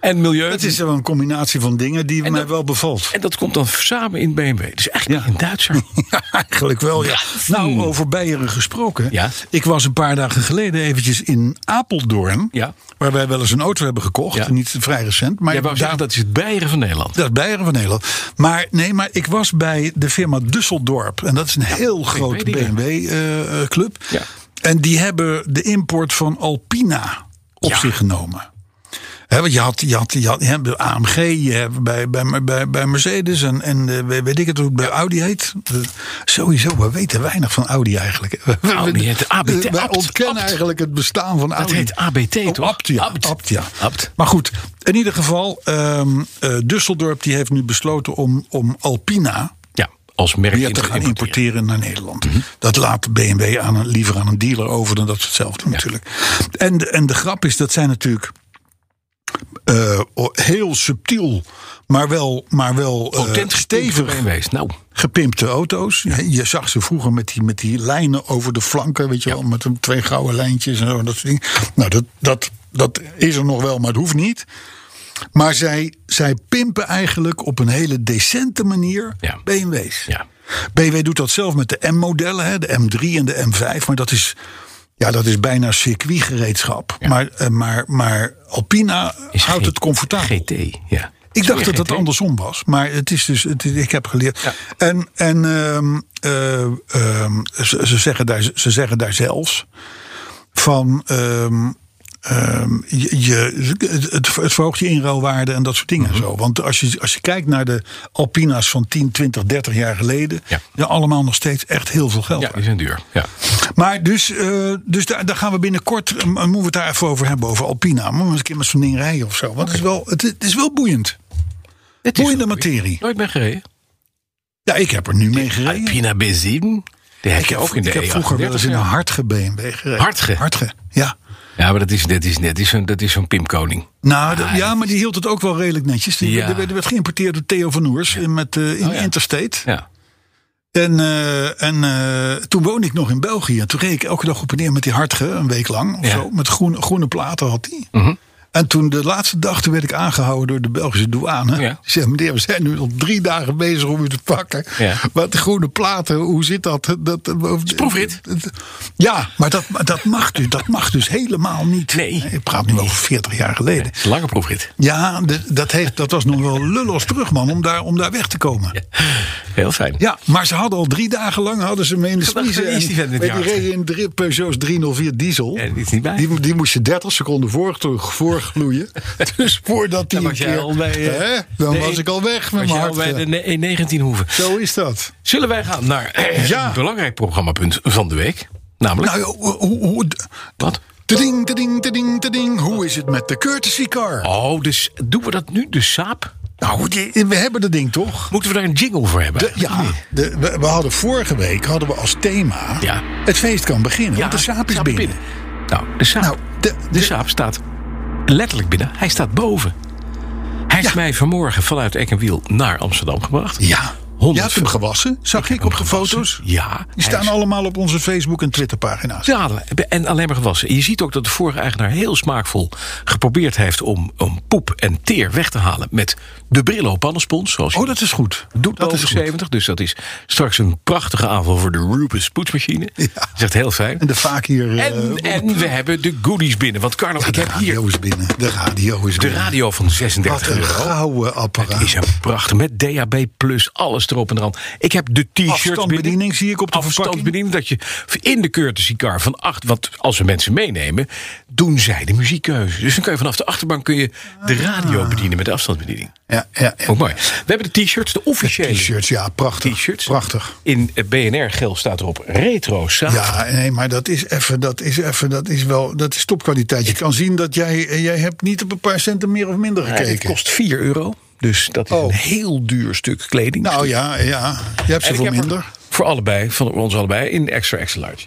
[SPEAKER 3] En milieu.
[SPEAKER 2] Het is wel een combinatie van dingen die mij
[SPEAKER 3] dat-
[SPEAKER 2] wel bevalt.
[SPEAKER 3] En dat komt dan samen in BMW. Dus eigenlijk
[SPEAKER 2] Ja.
[SPEAKER 3] een Duitser.
[SPEAKER 2] Eigenlijk wel, ja. Nou, over Beieren gesproken.
[SPEAKER 3] Ja.
[SPEAKER 2] Ik was een paar dagen geleden eventjes in Apeldoorn.
[SPEAKER 3] Ja.
[SPEAKER 2] Waar wij wel eens een auto hebben gekocht.
[SPEAKER 3] Ja.
[SPEAKER 2] Niet vrij recent. Maar
[SPEAKER 3] Jij wou
[SPEAKER 2] daar,
[SPEAKER 3] zeggen, dat is het Beieren van Nederland.
[SPEAKER 2] dat is Beieren van Nederland. Maar nee, maar ik was bij de firma Düsseldorp. En dat is een heel grote
[SPEAKER 3] die
[SPEAKER 2] BMW-club.
[SPEAKER 3] Ja.
[SPEAKER 2] eh, En die hebben de import van Alpina op
[SPEAKER 3] Ja.
[SPEAKER 2] zich genomen. Hè, want je had, je had, je had, je hebt de AMG je hebt bij, bij, bij, bij Mercedes en, en eh, bij- weet ik het hoe het bij Audi heet. Eh, Sowieso, we weten weinig van Audi eigenlijk.
[SPEAKER 3] Audi heet ABT,
[SPEAKER 2] Eh, Wij
[SPEAKER 3] Abt,
[SPEAKER 2] ontkennen
[SPEAKER 3] Abt.
[SPEAKER 2] eigenlijk het bestaan van Audi.
[SPEAKER 3] heet ABT,
[SPEAKER 2] Oh,
[SPEAKER 3] toch?
[SPEAKER 2] Abt, ja.
[SPEAKER 3] Abt.
[SPEAKER 2] Abt, ja.
[SPEAKER 3] Abt.
[SPEAKER 2] Maar goed, in ieder geval, ehm eh Düsseldorp die heeft nu besloten om, om Alpina
[SPEAKER 3] Ja, als merk
[SPEAKER 2] weer te
[SPEAKER 3] inter-
[SPEAKER 2] gaan importeren naar Nederland.
[SPEAKER 3] Mhm.
[SPEAKER 2] Dat laat BMW aan een, liever aan een dealer over dan dat ze het zelf doen natuurlijk. En, de- en de grap is, dat zijn natuurlijk eh, o- heel subtiel, maar wel, maar wel eh,
[SPEAKER 3] Potent
[SPEAKER 2] stevig
[SPEAKER 3] stevig wees. Nou,
[SPEAKER 2] gepimpte auto's. Je- Je zag ze vroeger met die, met die lijnen over de flanken, weet je wel, met een- twee gouden lijntjes en zo, en dat soort dingen. Nou, dat, dat, dat is er nog wel, maar het hoeft niet. Maar zij, zij pimpen eigenlijk op een hele decente manier
[SPEAKER 3] Ja.
[SPEAKER 2] BMW's.
[SPEAKER 3] ja.
[SPEAKER 2] BMW doet dat zelf met de M-modellen, hè, de M3 en de M5. Maar dat is, ja, dat is bijna circuitgereedschap. Maar, eh, maar, maar Alpina
[SPEAKER 3] Is
[SPEAKER 2] houdt
[SPEAKER 3] G-
[SPEAKER 2] het comfortabel.
[SPEAKER 3] GT, ja.
[SPEAKER 2] Ik dacht dat het
[SPEAKER 3] GT.
[SPEAKER 2] andersom was, maar het is dus, het is- ik heb geleerd.
[SPEAKER 3] Ja.
[SPEAKER 2] En, en ehm, eh, ehm, ze, ze zeggen daar, ze zeggen daar zelfs van. ehm, ehm, je, je- het, het verhoogt je inruilwaarde en dat soort dingen.
[SPEAKER 3] Mhm.
[SPEAKER 2] en zo. Want als je, als je kijkt naar de Alpina's van 10, 20, 30 jaar geleden.
[SPEAKER 3] Ja.
[SPEAKER 2] Ja, allemaal nog steeds echt heel veel geld.
[SPEAKER 3] Ja, die zijn duur. Ja.
[SPEAKER 2] Maar dus, eh, dus daar, daar gaan we binnenkort. eh, moeten we het daar even over hebben, over Alpina. Moeten we eens een keer met zo'n ding rijden of zo. Want het, is wel, het, het is wel boeiend.
[SPEAKER 3] Het
[SPEAKER 2] Boeiende
[SPEAKER 3] wel-
[SPEAKER 2] materie.
[SPEAKER 3] Nooit ben gereden.
[SPEAKER 2] Ja, ik heb er nu mee gereden.
[SPEAKER 3] Alpina benzine. Die heb
[SPEAKER 2] ik
[SPEAKER 3] je
[SPEAKER 2] heb,
[SPEAKER 3] ook in de E
[SPEAKER 2] ik heb vroeger wel eens in een
[SPEAKER 3] E38.
[SPEAKER 2] hartge BMW gereden.
[SPEAKER 3] Hartge?
[SPEAKER 2] Hartge, ja.
[SPEAKER 3] Ja, maar dat is, dat is, dat is, zo'n- dat is zo'n pimpkoning.
[SPEAKER 2] Nou, de-
[SPEAKER 3] Ah,
[SPEAKER 2] ja,
[SPEAKER 3] dat
[SPEAKER 2] maar die hield het ook wel redelijk netjes. Die
[SPEAKER 3] Ja.
[SPEAKER 2] werd- werd, werd geïmporteerd door Theo van Oers in, met, eh, in
[SPEAKER 3] Oh, ja.
[SPEAKER 2] Interstate.
[SPEAKER 3] Ja.
[SPEAKER 2] En, eh, en eh, toen woonde ik nog in België. En toen reed ik elke dag op en neer met die hartge, een week lang of
[SPEAKER 3] Ja. Mhm.
[SPEAKER 2] zo. Met groene, groene platen had die. En toen de laatste dag, toen werd ik aangehouden door de Belgische douane.
[SPEAKER 3] Ja.
[SPEAKER 2] Die zei, meneer, we zijn nu al drie dagen bezig om u te pakken.
[SPEAKER 3] Ja.
[SPEAKER 2] Maar de groene platen, hoe zit dat? dat is
[SPEAKER 3] proefrit.
[SPEAKER 2] Ja, maar dat, maar dat, mag dus, dat mag dus helemaal niet.
[SPEAKER 3] Nee.
[SPEAKER 2] Ik praat nu over 40 jaar geleden.
[SPEAKER 3] Het is een lange proefrit.
[SPEAKER 2] Ja, de- dat, heeft, dat was nog wel lullos terug, man, om daar, om daar weg te komen.
[SPEAKER 3] Heel fijn.
[SPEAKER 2] Ja, maar ze hadden al drie dagen lang hadden ze me in de
[SPEAKER 3] Gedacht,
[SPEAKER 2] smiezen.
[SPEAKER 3] wie is die vent met
[SPEAKER 2] maar
[SPEAKER 3] die
[SPEAKER 2] die
[SPEAKER 3] hart?
[SPEAKER 2] reden in drie, Peugeot's 304 diesel.
[SPEAKER 3] Ja, die is niet bij.
[SPEAKER 2] Die, mo- die moest je 30 seconden voor, voorgloeien. dus voordat die
[SPEAKER 3] Dan
[SPEAKER 2] een
[SPEAKER 3] was jij
[SPEAKER 2] keer...
[SPEAKER 3] al bij, eh,
[SPEAKER 2] hè, dan
[SPEAKER 3] de
[SPEAKER 2] was
[SPEAKER 3] een-
[SPEAKER 2] ik al weg met
[SPEAKER 3] Was
[SPEAKER 2] mijn
[SPEAKER 3] je al
[SPEAKER 2] hart. eh.
[SPEAKER 3] bij de ne- 19 hoeven.
[SPEAKER 2] Zo is dat.
[SPEAKER 3] Zullen wij gaan naar eh,
[SPEAKER 2] Ja.
[SPEAKER 3] een belangrijk programmapunt van de week? Namelijk,
[SPEAKER 2] Nou, hoe... hoe, hoe
[SPEAKER 3] wat?
[SPEAKER 2] tading, tading, tading, tading. Hoe is het met de courtesy car?
[SPEAKER 3] Oh, dus doen we dat nu? De saap?
[SPEAKER 2] Nou, die- we hebben dat ding toch?
[SPEAKER 3] Moeten we daar een jingle voor hebben?
[SPEAKER 2] De- ja, de, we, we hadden vorige week hadden we als thema...
[SPEAKER 3] Ja.
[SPEAKER 2] Het feest kan beginnen,
[SPEAKER 3] Ja,
[SPEAKER 2] want de saap is
[SPEAKER 3] saap
[SPEAKER 2] binnen.
[SPEAKER 3] Nou, de saap.
[SPEAKER 2] Nou, de-
[SPEAKER 3] De
[SPEAKER 2] de-
[SPEAKER 3] saap staat letterlijk binnen. Hij staat boven. Hij is
[SPEAKER 2] Ja.
[SPEAKER 3] mij vanmorgen vanuit Eck en Wiel naar Amsterdam gebracht.
[SPEAKER 2] Ja, je hebt
[SPEAKER 3] 100
[SPEAKER 2] hem gewassen, zag ik, op de foto's.
[SPEAKER 3] Ja.
[SPEAKER 2] Die staan allemaal op onze Facebook- en Twitterpagina's.
[SPEAKER 3] dadelijk. En alleen maar gewassen. Je ziet ook dat de vorige eigenaar heel smaakvol geprobeerd heeft om, om poep en teer weg te halen met de Brillo pannenspons. Zoals je
[SPEAKER 2] Oh, dat is goed.
[SPEAKER 3] doet
[SPEAKER 2] dat
[SPEAKER 3] boven
[SPEAKER 2] is goed.
[SPEAKER 3] 70. Dus dat is straks een prachtige aanval voor de Rubens poetsmachine.
[SPEAKER 2] Ja.
[SPEAKER 3] Dat is echt heel fijn.
[SPEAKER 2] En de vaak hier... eh,
[SPEAKER 3] En, en we hebben de goodies binnen. Want Carlo, ik
[SPEAKER 2] de
[SPEAKER 3] heb hier
[SPEAKER 2] radio is binnen. De radio is
[SPEAKER 3] de
[SPEAKER 2] binnen.
[SPEAKER 3] radio van
[SPEAKER 2] Wat
[SPEAKER 3] 36
[SPEAKER 2] een
[SPEAKER 3] euro.
[SPEAKER 2] gouden apparaat.
[SPEAKER 3] Het is een prachtig. Met DAB+, plus, alles erop en eraan. Ik heb de t-shirt binnen.
[SPEAKER 2] Afstandsbediening zie ik op de verpakking.
[SPEAKER 3] Afstandsbediening. Dat je in de courtesy car van acht... Want als we mensen meenemen, doen zij de muziekkeuze. Dus dan kun je vanaf de achterbank kun je de
[SPEAKER 2] Ah.
[SPEAKER 3] radio bedienen met de afstandsbediening.
[SPEAKER 2] Ja, ja, ja.
[SPEAKER 3] Ook mooi. We hebben de t-shirts, de officiële
[SPEAKER 2] T-shirts, ja, prachtig.
[SPEAKER 3] t-shirts.
[SPEAKER 2] Prachtig.
[SPEAKER 3] In eh, BNR geel staat erop retro saap.
[SPEAKER 2] Ja, nee, maar dat is even, dat is even, dat is wel, dat is topkwaliteit. Je kan zien dat jij, eh, jij hebt niet op een paar centen meer of minder
[SPEAKER 3] Eh, het
[SPEAKER 2] gekeken.
[SPEAKER 3] kost 4 euro. Dus dat is
[SPEAKER 2] Oh.
[SPEAKER 3] een heel duur stuk kleding.
[SPEAKER 2] Nou ja, ja, je hebt ze
[SPEAKER 3] En ik
[SPEAKER 2] voor
[SPEAKER 3] heb er
[SPEAKER 2] minder.
[SPEAKER 3] voor allebei, van ons allebei, in extra extra large.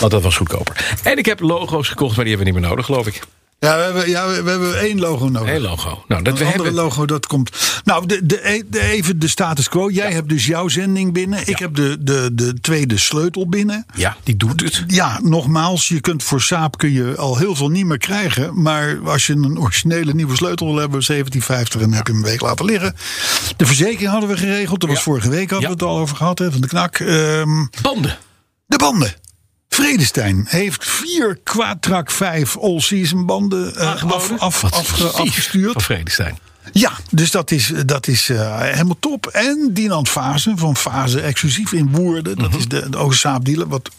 [SPEAKER 3] Want dat was goedkoper. En ik heb logo's gekocht, maar die hebben we niet meer nodig, geloof ik.
[SPEAKER 2] Ja, we hebben, ja, we we hebben één logo nodig.
[SPEAKER 3] Eén logo. Nou, dat we
[SPEAKER 2] een andere
[SPEAKER 3] hebben.
[SPEAKER 2] logo dat komt. Nou, de, de, de- even de status quo. Jij hebt dus jouw zending binnen. Ik heb de, de, de tweede sleutel binnen.
[SPEAKER 3] Ja, die doet het.
[SPEAKER 2] Ja, nogmaals, je kunt voor Saap kun je al heel veel niet meer krijgen. Maar als je een originele nieuwe sleutel wil hebben, 1750, en heb je hem een week laten liggen. De verzekering hadden we geregeld. Dat was
[SPEAKER 3] Ja.
[SPEAKER 2] vorige week hadden we
[SPEAKER 3] Ja.
[SPEAKER 2] het al over gehad, hè, van de knak. Ehm,
[SPEAKER 3] Banden.
[SPEAKER 2] de banden. Vredestein heeft vier Quatrack 5 all-season banden eh, af,
[SPEAKER 3] Aangeboden?
[SPEAKER 2] af,
[SPEAKER 3] Wat
[SPEAKER 2] afge-
[SPEAKER 3] lief
[SPEAKER 2] afgestuurd.
[SPEAKER 3] Van Vredestein.
[SPEAKER 2] Ja, dus dat is, dat is eh, helemaal top. En Dinant Fase van Fase exclusief in Woerden. Dat
[SPEAKER 3] Mhm.
[SPEAKER 2] is de, de ook Saap dealer. Wat,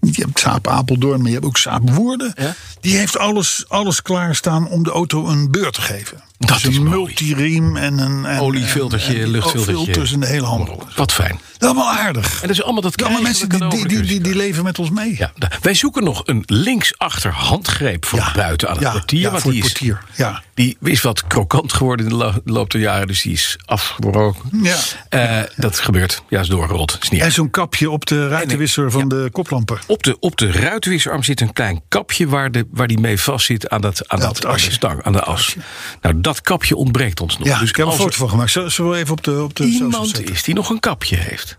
[SPEAKER 2] je hebt Saap Apeldoorn, maar je hebt ook Saap Woerden.
[SPEAKER 3] Ja.
[SPEAKER 2] Die heeft alles, alles klaarstaan om de auto een beurt te geven.
[SPEAKER 3] Dat
[SPEAKER 2] dus een
[SPEAKER 3] is mooi.
[SPEAKER 2] multiriem en een... En,
[SPEAKER 3] Oliefiltertje,
[SPEAKER 2] en- en-
[SPEAKER 3] luchtfiltertje.
[SPEAKER 2] filters en de hele handel.
[SPEAKER 3] Wat fijn.
[SPEAKER 2] Dat is wel aardig.
[SPEAKER 3] En dat is allemaal dat
[SPEAKER 2] Ja, maar
[SPEAKER 3] krijgen
[SPEAKER 2] mensen
[SPEAKER 3] we
[SPEAKER 2] die, die, die,
[SPEAKER 3] cadeau
[SPEAKER 2] die,
[SPEAKER 3] van de
[SPEAKER 2] die leven met ons mee.
[SPEAKER 3] Ja, da- wij zoeken nog een linksachter handgreep voor
[SPEAKER 2] Ja.
[SPEAKER 3] buiten aan het
[SPEAKER 2] Ja,
[SPEAKER 3] portier.
[SPEAKER 2] ja,
[SPEAKER 3] want
[SPEAKER 2] voor
[SPEAKER 3] die
[SPEAKER 2] het
[SPEAKER 3] is,
[SPEAKER 2] portier, ja.
[SPEAKER 3] Die is wat krokant geworden in de la- loop der jaren, dus die is afgebroken.
[SPEAKER 2] Ja.
[SPEAKER 3] Eh, Dat gebeurt. Ja, is doorgerold. Is niet
[SPEAKER 2] En
[SPEAKER 3] erg.
[SPEAKER 2] zo'n kapje op de ruitenwisser van de koplampen.
[SPEAKER 3] Op de, op de ruitwisserarm zit een klein kapje waar, de, waar die mee vast zit aan, dat, aan,
[SPEAKER 2] Ja,
[SPEAKER 3] dat,
[SPEAKER 2] het
[SPEAKER 3] aan de
[SPEAKER 2] asje.
[SPEAKER 3] stang, aan de as. Nou, dat kapje ontbreekt ons nog.
[SPEAKER 2] Ja,
[SPEAKER 3] dus
[SPEAKER 2] ik heb er
[SPEAKER 3] als
[SPEAKER 2] een
[SPEAKER 3] er
[SPEAKER 2] foto van gemaakt. Zullen zullen we even op de, op de socials
[SPEAKER 3] iemand
[SPEAKER 2] zetten?
[SPEAKER 3] is die nog een kapje heeft.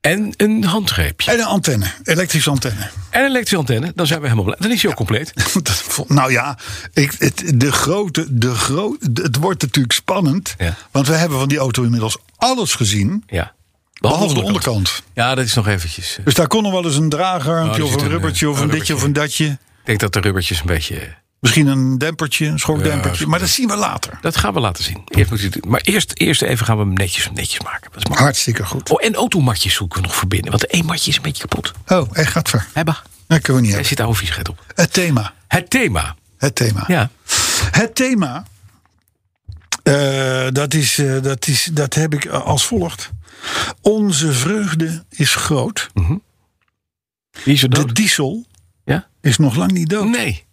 [SPEAKER 3] En een handgreepje.
[SPEAKER 2] En een antenne, elektrische antenne.
[SPEAKER 3] En een elektrische antenne, dan zijn we helemaal blij. Dan is hij ook compleet.
[SPEAKER 2] Dat vo- nou ja, ik, het, de grote, de gro, de- het wordt natuurlijk spannend.
[SPEAKER 3] Ja.
[SPEAKER 2] Want we hebben van die auto inmiddels alles gezien.
[SPEAKER 3] Ja.
[SPEAKER 2] Behalve de onderkant.
[SPEAKER 3] Ja, dat is nog eventjes. eh,
[SPEAKER 2] Dus daar kon nog wel eens een draagarmpje
[SPEAKER 3] Oh, er
[SPEAKER 2] of
[SPEAKER 3] zit
[SPEAKER 2] een
[SPEAKER 3] een,
[SPEAKER 2] rubbertje
[SPEAKER 3] eh,
[SPEAKER 2] of een ditje
[SPEAKER 3] rubbertje.
[SPEAKER 2] of een datje.
[SPEAKER 3] Ik denk dat de rubbertjes een beetje. eh,
[SPEAKER 2] Misschien een dempertje, een schokdempertje.
[SPEAKER 3] Ja,
[SPEAKER 2] maar dat zien we later.
[SPEAKER 3] Dat gaan we laten zien. Eerst moet je het- maar eerst, eerst even gaan we hem netjes, netjes maken. Dat is makkelijk.
[SPEAKER 2] Hartstikke goed.
[SPEAKER 3] Oh, en automatjes zoeken we nog verbinden. Want één matje is een beetje kapot.
[SPEAKER 2] Oh, hij gaat ver.
[SPEAKER 3] Hebba.
[SPEAKER 2] Dat kunnen we niet
[SPEAKER 3] Daar
[SPEAKER 2] hebben.
[SPEAKER 3] zit oude viesgeit op.
[SPEAKER 2] Het thema.
[SPEAKER 3] Het thema.
[SPEAKER 2] Het thema.
[SPEAKER 3] Ja.
[SPEAKER 2] Het thema, eh, dat, is, eh, dat, is, dat heb ik eh, als volgt. Onze vreugde is groot.
[SPEAKER 3] Wie is er
[SPEAKER 2] De
[SPEAKER 3] dood?
[SPEAKER 2] diesel
[SPEAKER 3] Ja?
[SPEAKER 2] is nog lang niet dood.
[SPEAKER 3] Nee.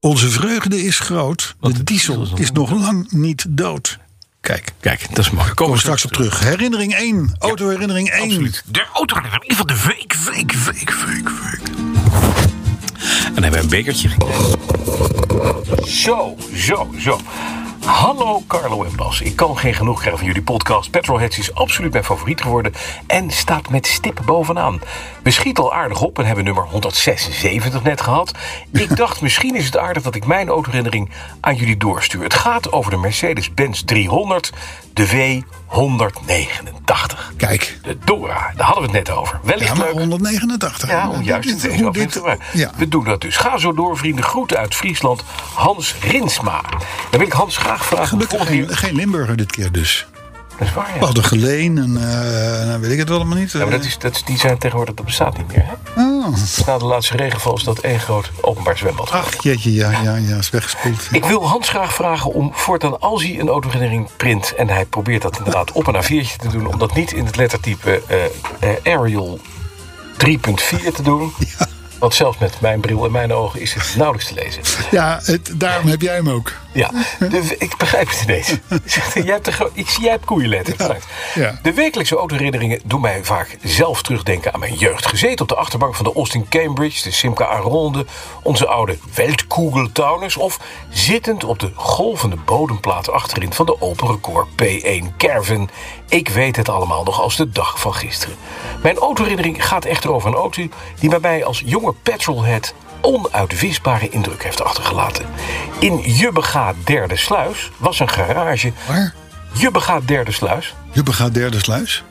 [SPEAKER 2] Onze vreugde is groot.
[SPEAKER 3] Want
[SPEAKER 2] de
[SPEAKER 3] de diesel
[SPEAKER 2] diesel
[SPEAKER 3] is nog
[SPEAKER 2] is nog lang niet dood. Kijk,
[SPEAKER 3] Kijk, dat is mooi. Komen,
[SPEAKER 2] komen we straks op terug. Herinnering 1, autoherinnering 1.
[SPEAKER 3] Absoluut. De auto van de week, week, week, week, week. En dan hebben we een bekertje gekregen. Zo, zo, zo. Hallo Carlo en Bas. Ik kan geen genoeg krijgen van jullie podcast. Petrolheads is absoluut mijn favoriet geworden en staat met stip bovenaan. We schieten al aardig op en hebben nummer 176 net gehad. Ik dacht misschien is het aardig dat ik mijn autoherinnering aan jullie doorstuur. Het gaat over de Mercedes-Benz 300, de W189.
[SPEAKER 2] Kijk,
[SPEAKER 3] De Dora, daar hadden we het net over.
[SPEAKER 2] ja,
[SPEAKER 3] Wellicht
[SPEAKER 2] maar
[SPEAKER 3] leuk.
[SPEAKER 2] 189.
[SPEAKER 3] Ja, om juist in
[SPEAKER 2] Dit-
[SPEAKER 3] deze
[SPEAKER 2] hoe
[SPEAKER 3] aflevering
[SPEAKER 2] dit-
[SPEAKER 3] te maken.
[SPEAKER 2] ja.
[SPEAKER 3] We doen dat dus. Ga zo door, vrienden. Groeten uit Friesland, Hans Rinsma. Dan wil ik Hans graag vragen... om de
[SPEAKER 2] Gelukkig
[SPEAKER 3] volgende
[SPEAKER 2] geen,
[SPEAKER 3] keer-
[SPEAKER 2] geen Limburger dit keer dus.
[SPEAKER 3] Dat is waar, ja.
[SPEAKER 2] We hadden geleen en eh, nou weet ik het wel allemaal niet.
[SPEAKER 3] Ja, maar dat is, dat is, die zijn tegenwoordig, dat bestaat niet meer. Hè?
[SPEAKER 2] Oh.
[SPEAKER 3] Na de laatste regenval is dat één groot openbaar zwembad.
[SPEAKER 2] Ach, jeetje, ja, ja, ja, is weggespoeld.
[SPEAKER 3] Ik wil Hans graag vragen om voortaan als hij een autoherinnering print... en hij probeert dat inderdaad op een A4'tje te doen... om dat niet in het lettertype eh eh, Arial 3.4 te doen... Want zelfs met mijn bril en mijn ogen is het nauwelijks te lezen.
[SPEAKER 2] Ja, het, daarom heb jij hem ook.
[SPEAKER 3] Ja, de- ik begrijp het ineens. Zegt hij, jij hebt de gro- ik zie jij hebt koeienletters. Bedankt.
[SPEAKER 2] ja.
[SPEAKER 3] De wekelijkse autoherinneringen doen mij vaak zelf terugdenken aan mijn jeugd. Gezeten op de achterbank van de Austin Cambridge, de Simca Aronde, onze oude Weltkugeltauners... of zittend op de golvende bodemplaat achterin van de Opel Record P1 Caravan. Ik weet het allemaal nog als de dag van gisteren. Mijn autoherinnering gaat echter over een auto die bij mij als jonge petrolhead onuitwisbare indruk heeft achtergelaten. In Jubbega Derde Sluis was een garage.
[SPEAKER 2] Waar?
[SPEAKER 3] Jubbega Derde Sluis.
[SPEAKER 2] Jubbega derde sluis.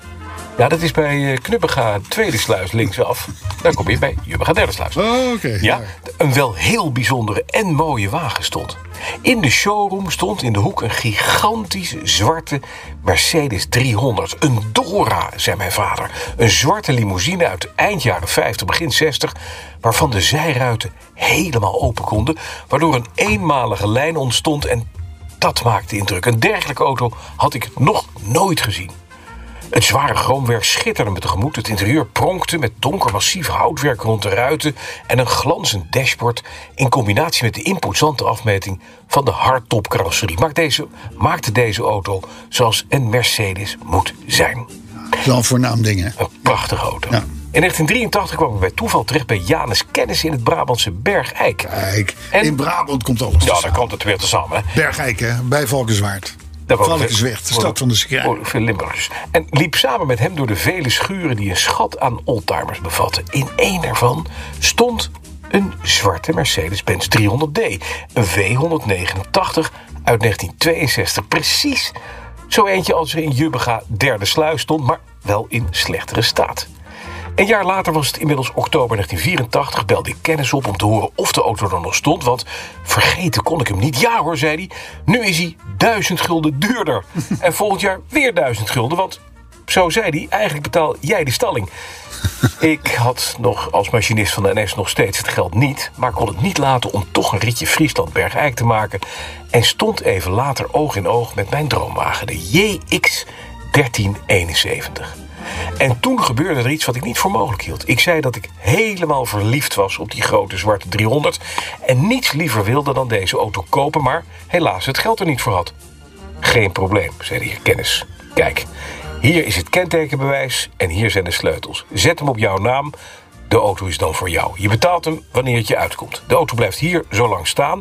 [SPEAKER 3] Ja, dat is bij eh, Knubbega Tweede Sluis linksaf. Daar kom je bij Jubbega Derde Sluis.
[SPEAKER 2] Oh, oké.
[SPEAKER 3] Ja, een wel heel bijzondere en mooie wagen stond. In de showroom stond in de hoek een gigantische zwarte Mercedes 300. Een Dora, zei mijn vader. Een zwarte limousine uit eind jaren 50, begin 60... waarvan de zijruiten helemaal open konden... waardoor een eenmalige lijn ontstond en dat maakte indruk. Een dergelijke auto had ik nog nooit gezien. Het zware groomwerk schitterde me tegemoet. Het interieur pronkte met donker massief houtwerk rond de ruiten en een glanzend dashboard in combinatie met de imposante afmeting van de hardtop carrosserie. Maakt deze, maakte deze auto zoals een Mercedes moet zijn.
[SPEAKER 2] Dan voornaam dingen.
[SPEAKER 3] Een prachtige auto.
[SPEAKER 2] Ja.
[SPEAKER 3] In 1983 kwam ik bij toeval terecht bij Janus Kennis in het Brabantse Bergijk. Dus-
[SPEAKER 2] Kijk,
[SPEAKER 3] En-
[SPEAKER 2] in Brabant komt alles.
[SPEAKER 3] Ja, dan
[SPEAKER 2] tezamen.
[SPEAKER 3] komt het weer tezamen. Hè?
[SPEAKER 2] Bergijk, hè, bij Valkenswaard.
[SPEAKER 3] Daar wonen
[SPEAKER 2] Valkensweg, de
[SPEAKER 3] veel-
[SPEAKER 2] stad van de Schrijf.
[SPEAKER 3] wonen Veel Oh, Limburgers. En liep samen met hem door de vele schuren die een schat aan oldtimers bevatten. In één ervan stond een zwarte Mercedes-Benz 300D. Een W189 uit 1962. Precies zo eentje als er in Jubbega derde sluis stond, maar wel in slechtere staat. Een jaar later was het inmiddels oktober 1984. Belde ik kennis op om te horen of de auto er nog stond. Want vergeten kon ik hem niet. Ja hoor, zei hij. Nu is hij duizend gulden duurder. en volgend jaar weer duizend gulden. Want zo zei hij, eigenlijk betaal jij de stalling. Ik had nog als machinist van de NS nog steeds het geld niet, maar kon het niet laten om toch een ritje Friesland Bergijk te maken en stond even later oog in oog met mijn droomwagen, de JX 1371. En toen gebeurde er iets wat ik niet voor mogelijk hield. Ik zei dat ik helemaal verliefd was op die grote zwarte 300 en niets liever wilde dan deze auto kopen, maar helaas het geld er niet voor had. Geen probleem, zei de heer Kennis. Kijk, hier is het kentekenbewijs en hier zijn de sleutels. Zet hem op jouw naam. De auto is dan voor jou. Je betaalt hem wanneer het je uitkomt. De auto blijft hier zo lang staan.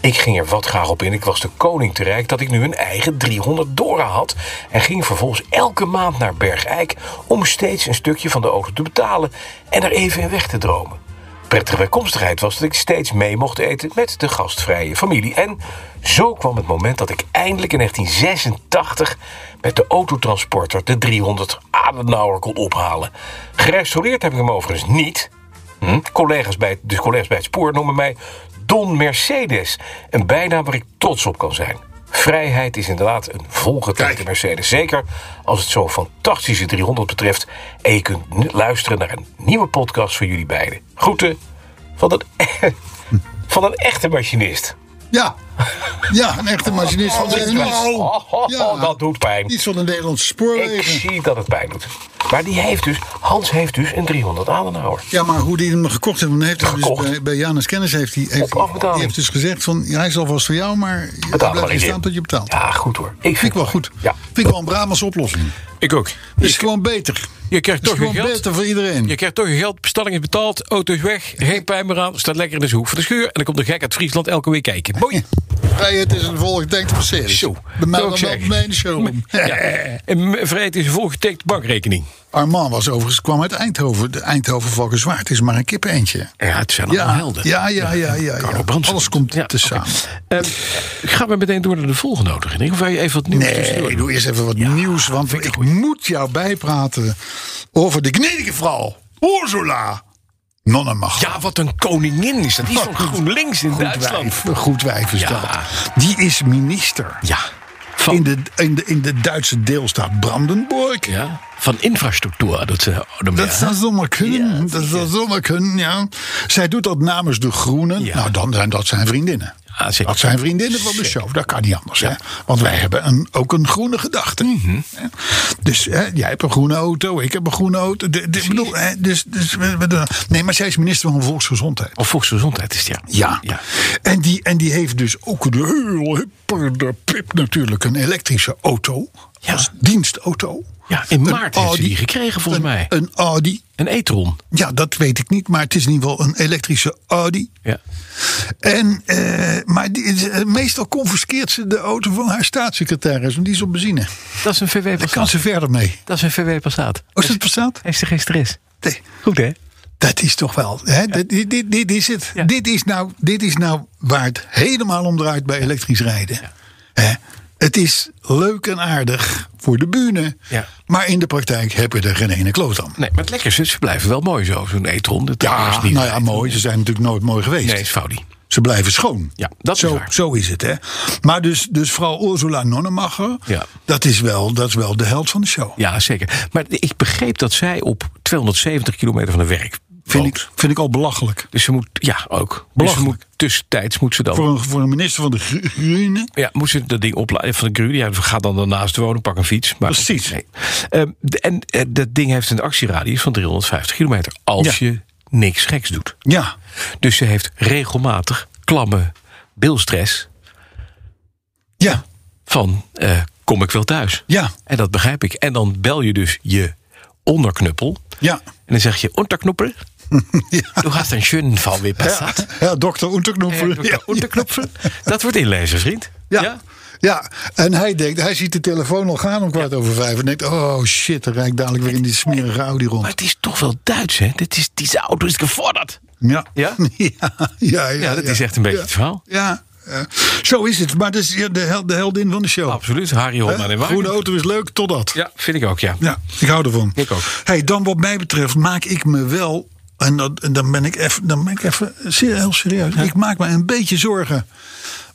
[SPEAKER 3] Ik ging er wat graag op in. Ik was de koning te rijk dat ik nu een eigen 300 Dora had. En ging vervolgens elke maand naar Bergijk om steeds een stukje van de auto te betalen en er even in weg te dromen. Prettige bijkomstigheid was dat ik steeds mee mocht eten met de gastvrije familie. En zo kwam het moment dat ik eindelijk in 1986 met de autotransporter de 300 Adenauer kon ophalen. Gerestaureerd heb ik hem overigens niet. Hm? Collega's bij, het- dus collega's bij het spoor noemen mij Don Mercedes. Een bijnaam waar ik trots op kan zijn. Vrijheid is inderdaad een volgetekende Mercedes. Zeker als het zo'n fantastische 300 betreft. En je kunt nu luisteren naar een nieuwe podcast van jullie beiden. Groeten van een, e- van een echte machinist.
[SPEAKER 2] Ja, ja een echte machinist van de NS.
[SPEAKER 3] Oh, oh,
[SPEAKER 2] Ja.
[SPEAKER 3] oh, Dat doet pijn.
[SPEAKER 2] Iets van de Nederlandse
[SPEAKER 3] Ik
[SPEAKER 2] spoorwegen.
[SPEAKER 3] zie dat het pijn doet. Maar die heeft dus, Hans heeft dus een 300 Adenauer.
[SPEAKER 2] Ja, maar hoe die hem gekocht heeft, want hij heeft hij dus
[SPEAKER 3] Gekocht?
[SPEAKER 2] bij, bij Janus Kennis heeft hij, heeft,
[SPEAKER 3] Op afbetaling.
[SPEAKER 2] die heeft dus gezegd van ja, hij is alvast voor jou, maar je
[SPEAKER 3] Betaal
[SPEAKER 2] blijft
[SPEAKER 3] maar
[SPEAKER 2] hier
[SPEAKER 3] eens
[SPEAKER 2] staan
[SPEAKER 3] in.
[SPEAKER 2] tot je betaalt.
[SPEAKER 3] Ja, goed hoor. Ik
[SPEAKER 2] Vind ik wel
[SPEAKER 3] het
[SPEAKER 2] goed.
[SPEAKER 3] Ja.
[SPEAKER 2] Vind ik wel een Brabants oplossing.
[SPEAKER 4] Ik ook.
[SPEAKER 2] Is gewoon beter.
[SPEAKER 4] Je krijgt
[SPEAKER 2] Is
[SPEAKER 4] toch je
[SPEAKER 2] gewoon
[SPEAKER 4] geld.
[SPEAKER 2] beter voor iedereen.
[SPEAKER 4] Je krijgt toch je geld. Bestalling is betaald. Auto is weg. Geen pijn meer aan. Staat lekker in de hoek van de schuur. En dan komt de gek uit Friesland elke week kijken. Mooi.
[SPEAKER 2] Vrijheid is een volgende denkt op series.
[SPEAKER 4] Zo,
[SPEAKER 2] Bij mij dan
[SPEAKER 4] zou ik
[SPEAKER 2] wel
[SPEAKER 4] zeggen.
[SPEAKER 2] mijn show.
[SPEAKER 4] Ja. En m- vrijheid is een volgetekend bankrekening.
[SPEAKER 2] Armand was overigens, kwam uit Eindhoven. De Eindhoven Valkenswaard is maar een kippeentje.
[SPEAKER 4] Ja, het zijn allemaal
[SPEAKER 2] Ja,
[SPEAKER 4] helden.
[SPEAKER 2] ja, ja, ja. ja,
[SPEAKER 4] Carlo
[SPEAKER 2] ja.
[SPEAKER 4] Bransen.
[SPEAKER 2] Alles komt
[SPEAKER 4] Ja,
[SPEAKER 2] te samen.
[SPEAKER 4] Ehm, gaan we meteen door naar de volgende nodiging? Of wil je even wat nieuws tussendoor
[SPEAKER 2] Nee,
[SPEAKER 4] doen?
[SPEAKER 2] doe eerst even wat nieuws. Want ik moet jou bijpraten over de gnädige vrouw Ursula Nonnemacher.
[SPEAKER 4] Ja, Ah, wat een koningin is dat. Die is van GroenLinks in
[SPEAKER 2] goed
[SPEAKER 4] Duitsland.
[SPEAKER 2] wijf, goed wijf is
[SPEAKER 4] Ja.
[SPEAKER 2] dat. Die is minister
[SPEAKER 4] Ja, van,
[SPEAKER 2] in, de, in, de, in de Duitse deelstaat Brandenburg.
[SPEAKER 4] ja, van infrastructuur.
[SPEAKER 3] also
[SPEAKER 4] Dat, eh, dat
[SPEAKER 2] Dat zou zomaar kunnen. dat zou zomaar kunnen, ja. Zij doet dat namens de Groenen.
[SPEAKER 4] Ja.
[SPEAKER 2] Nou, dan zijn dat zijn vriendinnen.
[SPEAKER 4] Ja, zeker.
[SPEAKER 2] dat zijn vriendinnen van de show. Dat kan niet anders. Hè? Want wij hebben een, ook een groene gedachte.
[SPEAKER 4] Mhm.
[SPEAKER 2] Hè? Dus hè, jij hebt een groene auto. Ik heb een groene auto. De, de, ik bedoel, hè, dus, dus, we- we doen- nee, maar zij is minister van Volksgezondheid.
[SPEAKER 4] Of volksgezondheid is het, ja.
[SPEAKER 2] Ja. En, die, en die heeft dus ook een heel hipper de pip natuurlijk. Een elektrische auto.
[SPEAKER 4] Ja.
[SPEAKER 2] Als dienstauto.
[SPEAKER 4] Ja, in
[SPEAKER 2] Een
[SPEAKER 4] maart heeft ze
[SPEAKER 2] Audi.
[SPEAKER 4] die gekregen, volgens
[SPEAKER 2] Een-
[SPEAKER 4] mij.
[SPEAKER 2] Een Audi.
[SPEAKER 4] Een etron.
[SPEAKER 2] Ja, dat weet ik niet, maar het is in ieder geval een elektrische Audi.
[SPEAKER 4] Ja.
[SPEAKER 2] En, eh, maar die, is, eh, meestal confiskeert ze de auto van haar staatssecretaris, want die is op benzine.
[SPEAKER 4] Dat Oh. is een VW
[SPEAKER 2] Daar kan
[SPEAKER 4] Passat.
[SPEAKER 2] ze verder mee.
[SPEAKER 4] Dat is een VW Passat.
[SPEAKER 2] Als het bestaat?
[SPEAKER 4] Heeft ze geen stress.
[SPEAKER 2] Nee.
[SPEAKER 4] Goed, hè?
[SPEAKER 2] Dat is toch wel. Hè? Dit, dit, dit, dit is het.
[SPEAKER 4] Ja.
[SPEAKER 2] Dit, is nou, dit is nou waar het helemaal om draait bij elektrisch rijden. Hè? Het is leuk en aardig voor de bühne.
[SPEAKER 4] Ja.
[SPEAKER 2] Maar in de praktijk heb je er geen ene kloot aan.
[SPEAKER 4] Nee, maar het lekkers is, ze blijven wel mooi zo, zo'n etron. Dat
[SPEAKER 2] Ja,
[SPEAKER 4] is niet
[SPEAKER 2] nou ja, mooi. Ze zijn natuurlijk nooit mooi geweest.
[SPEAKER 4] Nee, is Faudi.
[SPEAKER 2] Ze blijven schoon.
[SPEAKER 4] Ja, dat is
[SPEAKER 2] zo,
[SPEAKER 4] waar.
[SPEAKER 2] Zo is het, hè. Maar dus, dus vrouw Ursula Nonnemacher,
[SPEAKER 4] Ja.
[SPEAKER 2] dat, is wel, dat is wel de held van de show.
[SPEAKER 4] Ja, zeker. Maar ik begreep dat zij op 270 kilometer van de werk
[SPEAKER 2] Vind,
[SPEAKER 4] woont.
[SPEAKER 2] ik, vind ik al belachelijk.
[SPEAKER 4] Dus ze moet, ja, ook. Dus ze
[SPEAKER 2] Belachelijk.
[SPEAKER 4] moet, tussentijds moet ze dan...
[SPEAKER 2] Voor een, voor een minister van de Gro- Groenen.
[SPEAKER 4] Ja, moest ze dat ding opladen van de Grudy. Ja, ga dan daarnaast wonen, pak een fiets. Maar
[SPEAKER 2] Precies.
[SPEAKER 4] Nee. Ehm, de- en eh, dat ding heeft een actieradius van 350 kilometer. Als
[SPEAKER 2] Ja.
[SPEAKER 4] je niks geks doet.
[SPEAKER 2] Ja,
[SPEAKER 4] Dus ze heeft regelmatig klamme bilstress
[SPEAKER 2] ja,
[SPEAKER 4] van eh, kom ik wel thuis.
[SPEAKER 2] ja,
[SPEAKER 4] En dat begrijp ik. En dan bel je dus je onderknuppel.
[SPEAKER 2] ja.
[SPEAKER 4] En dan zeg je, onderknuppel,
[SPEAKER 2] Ja,
[SPEAKER 4] du hast een schönen VW Passat.
[SPEAKER 2] ja dokter Unterknoepen.
[SPEAKER 4] Ja. Unterknuppel. Dat wordt inlezen, vriend.
[SPEAKER 2] Ja. Ja. en hij denkt, hij ziet de telefoon al gaan om kwart over vijf. En denkt, oh shit, dan rijd ik dadelijk weer in die smerige Audi
[SPEAKER 4] Maar
[SPEAKER 2] rond.
[SPEAKER 4] het is toch wel Duits, hè? Dit is, deze auto is gevorderd.
[SPEAKER 2] Ja,
[SPEAKER 4] Ja?
[SPEAKER 2] ja, ja.
[SPEAKER 4] Ja, dat is echt een beetje het verhaal.
[SPEAKER 2] Ja, Eh, zo is het. Maar dat is ja, de, hel- de heldin van de show.
[SPEAKER 4] Absoluut, Harry
[SPEAKER 2] Hè?
[SPEAKER 4] Holman en Wagner.
[SPEAKER 2] Groene auto is leuk, totdat.
[SPEAKER 4] Ja, vind ik ook, ja.
[SPEAKER 2] Ja, ik hou ervan.
[SPEAKER 4] Ik ook.
[SPEAKER 2] Hey, dan wat mij betreft maak ik me wel. En, dat, en dan ben ik even, dan ben ik even zeer, heel serieus. Ik maak me een beetje zorgen.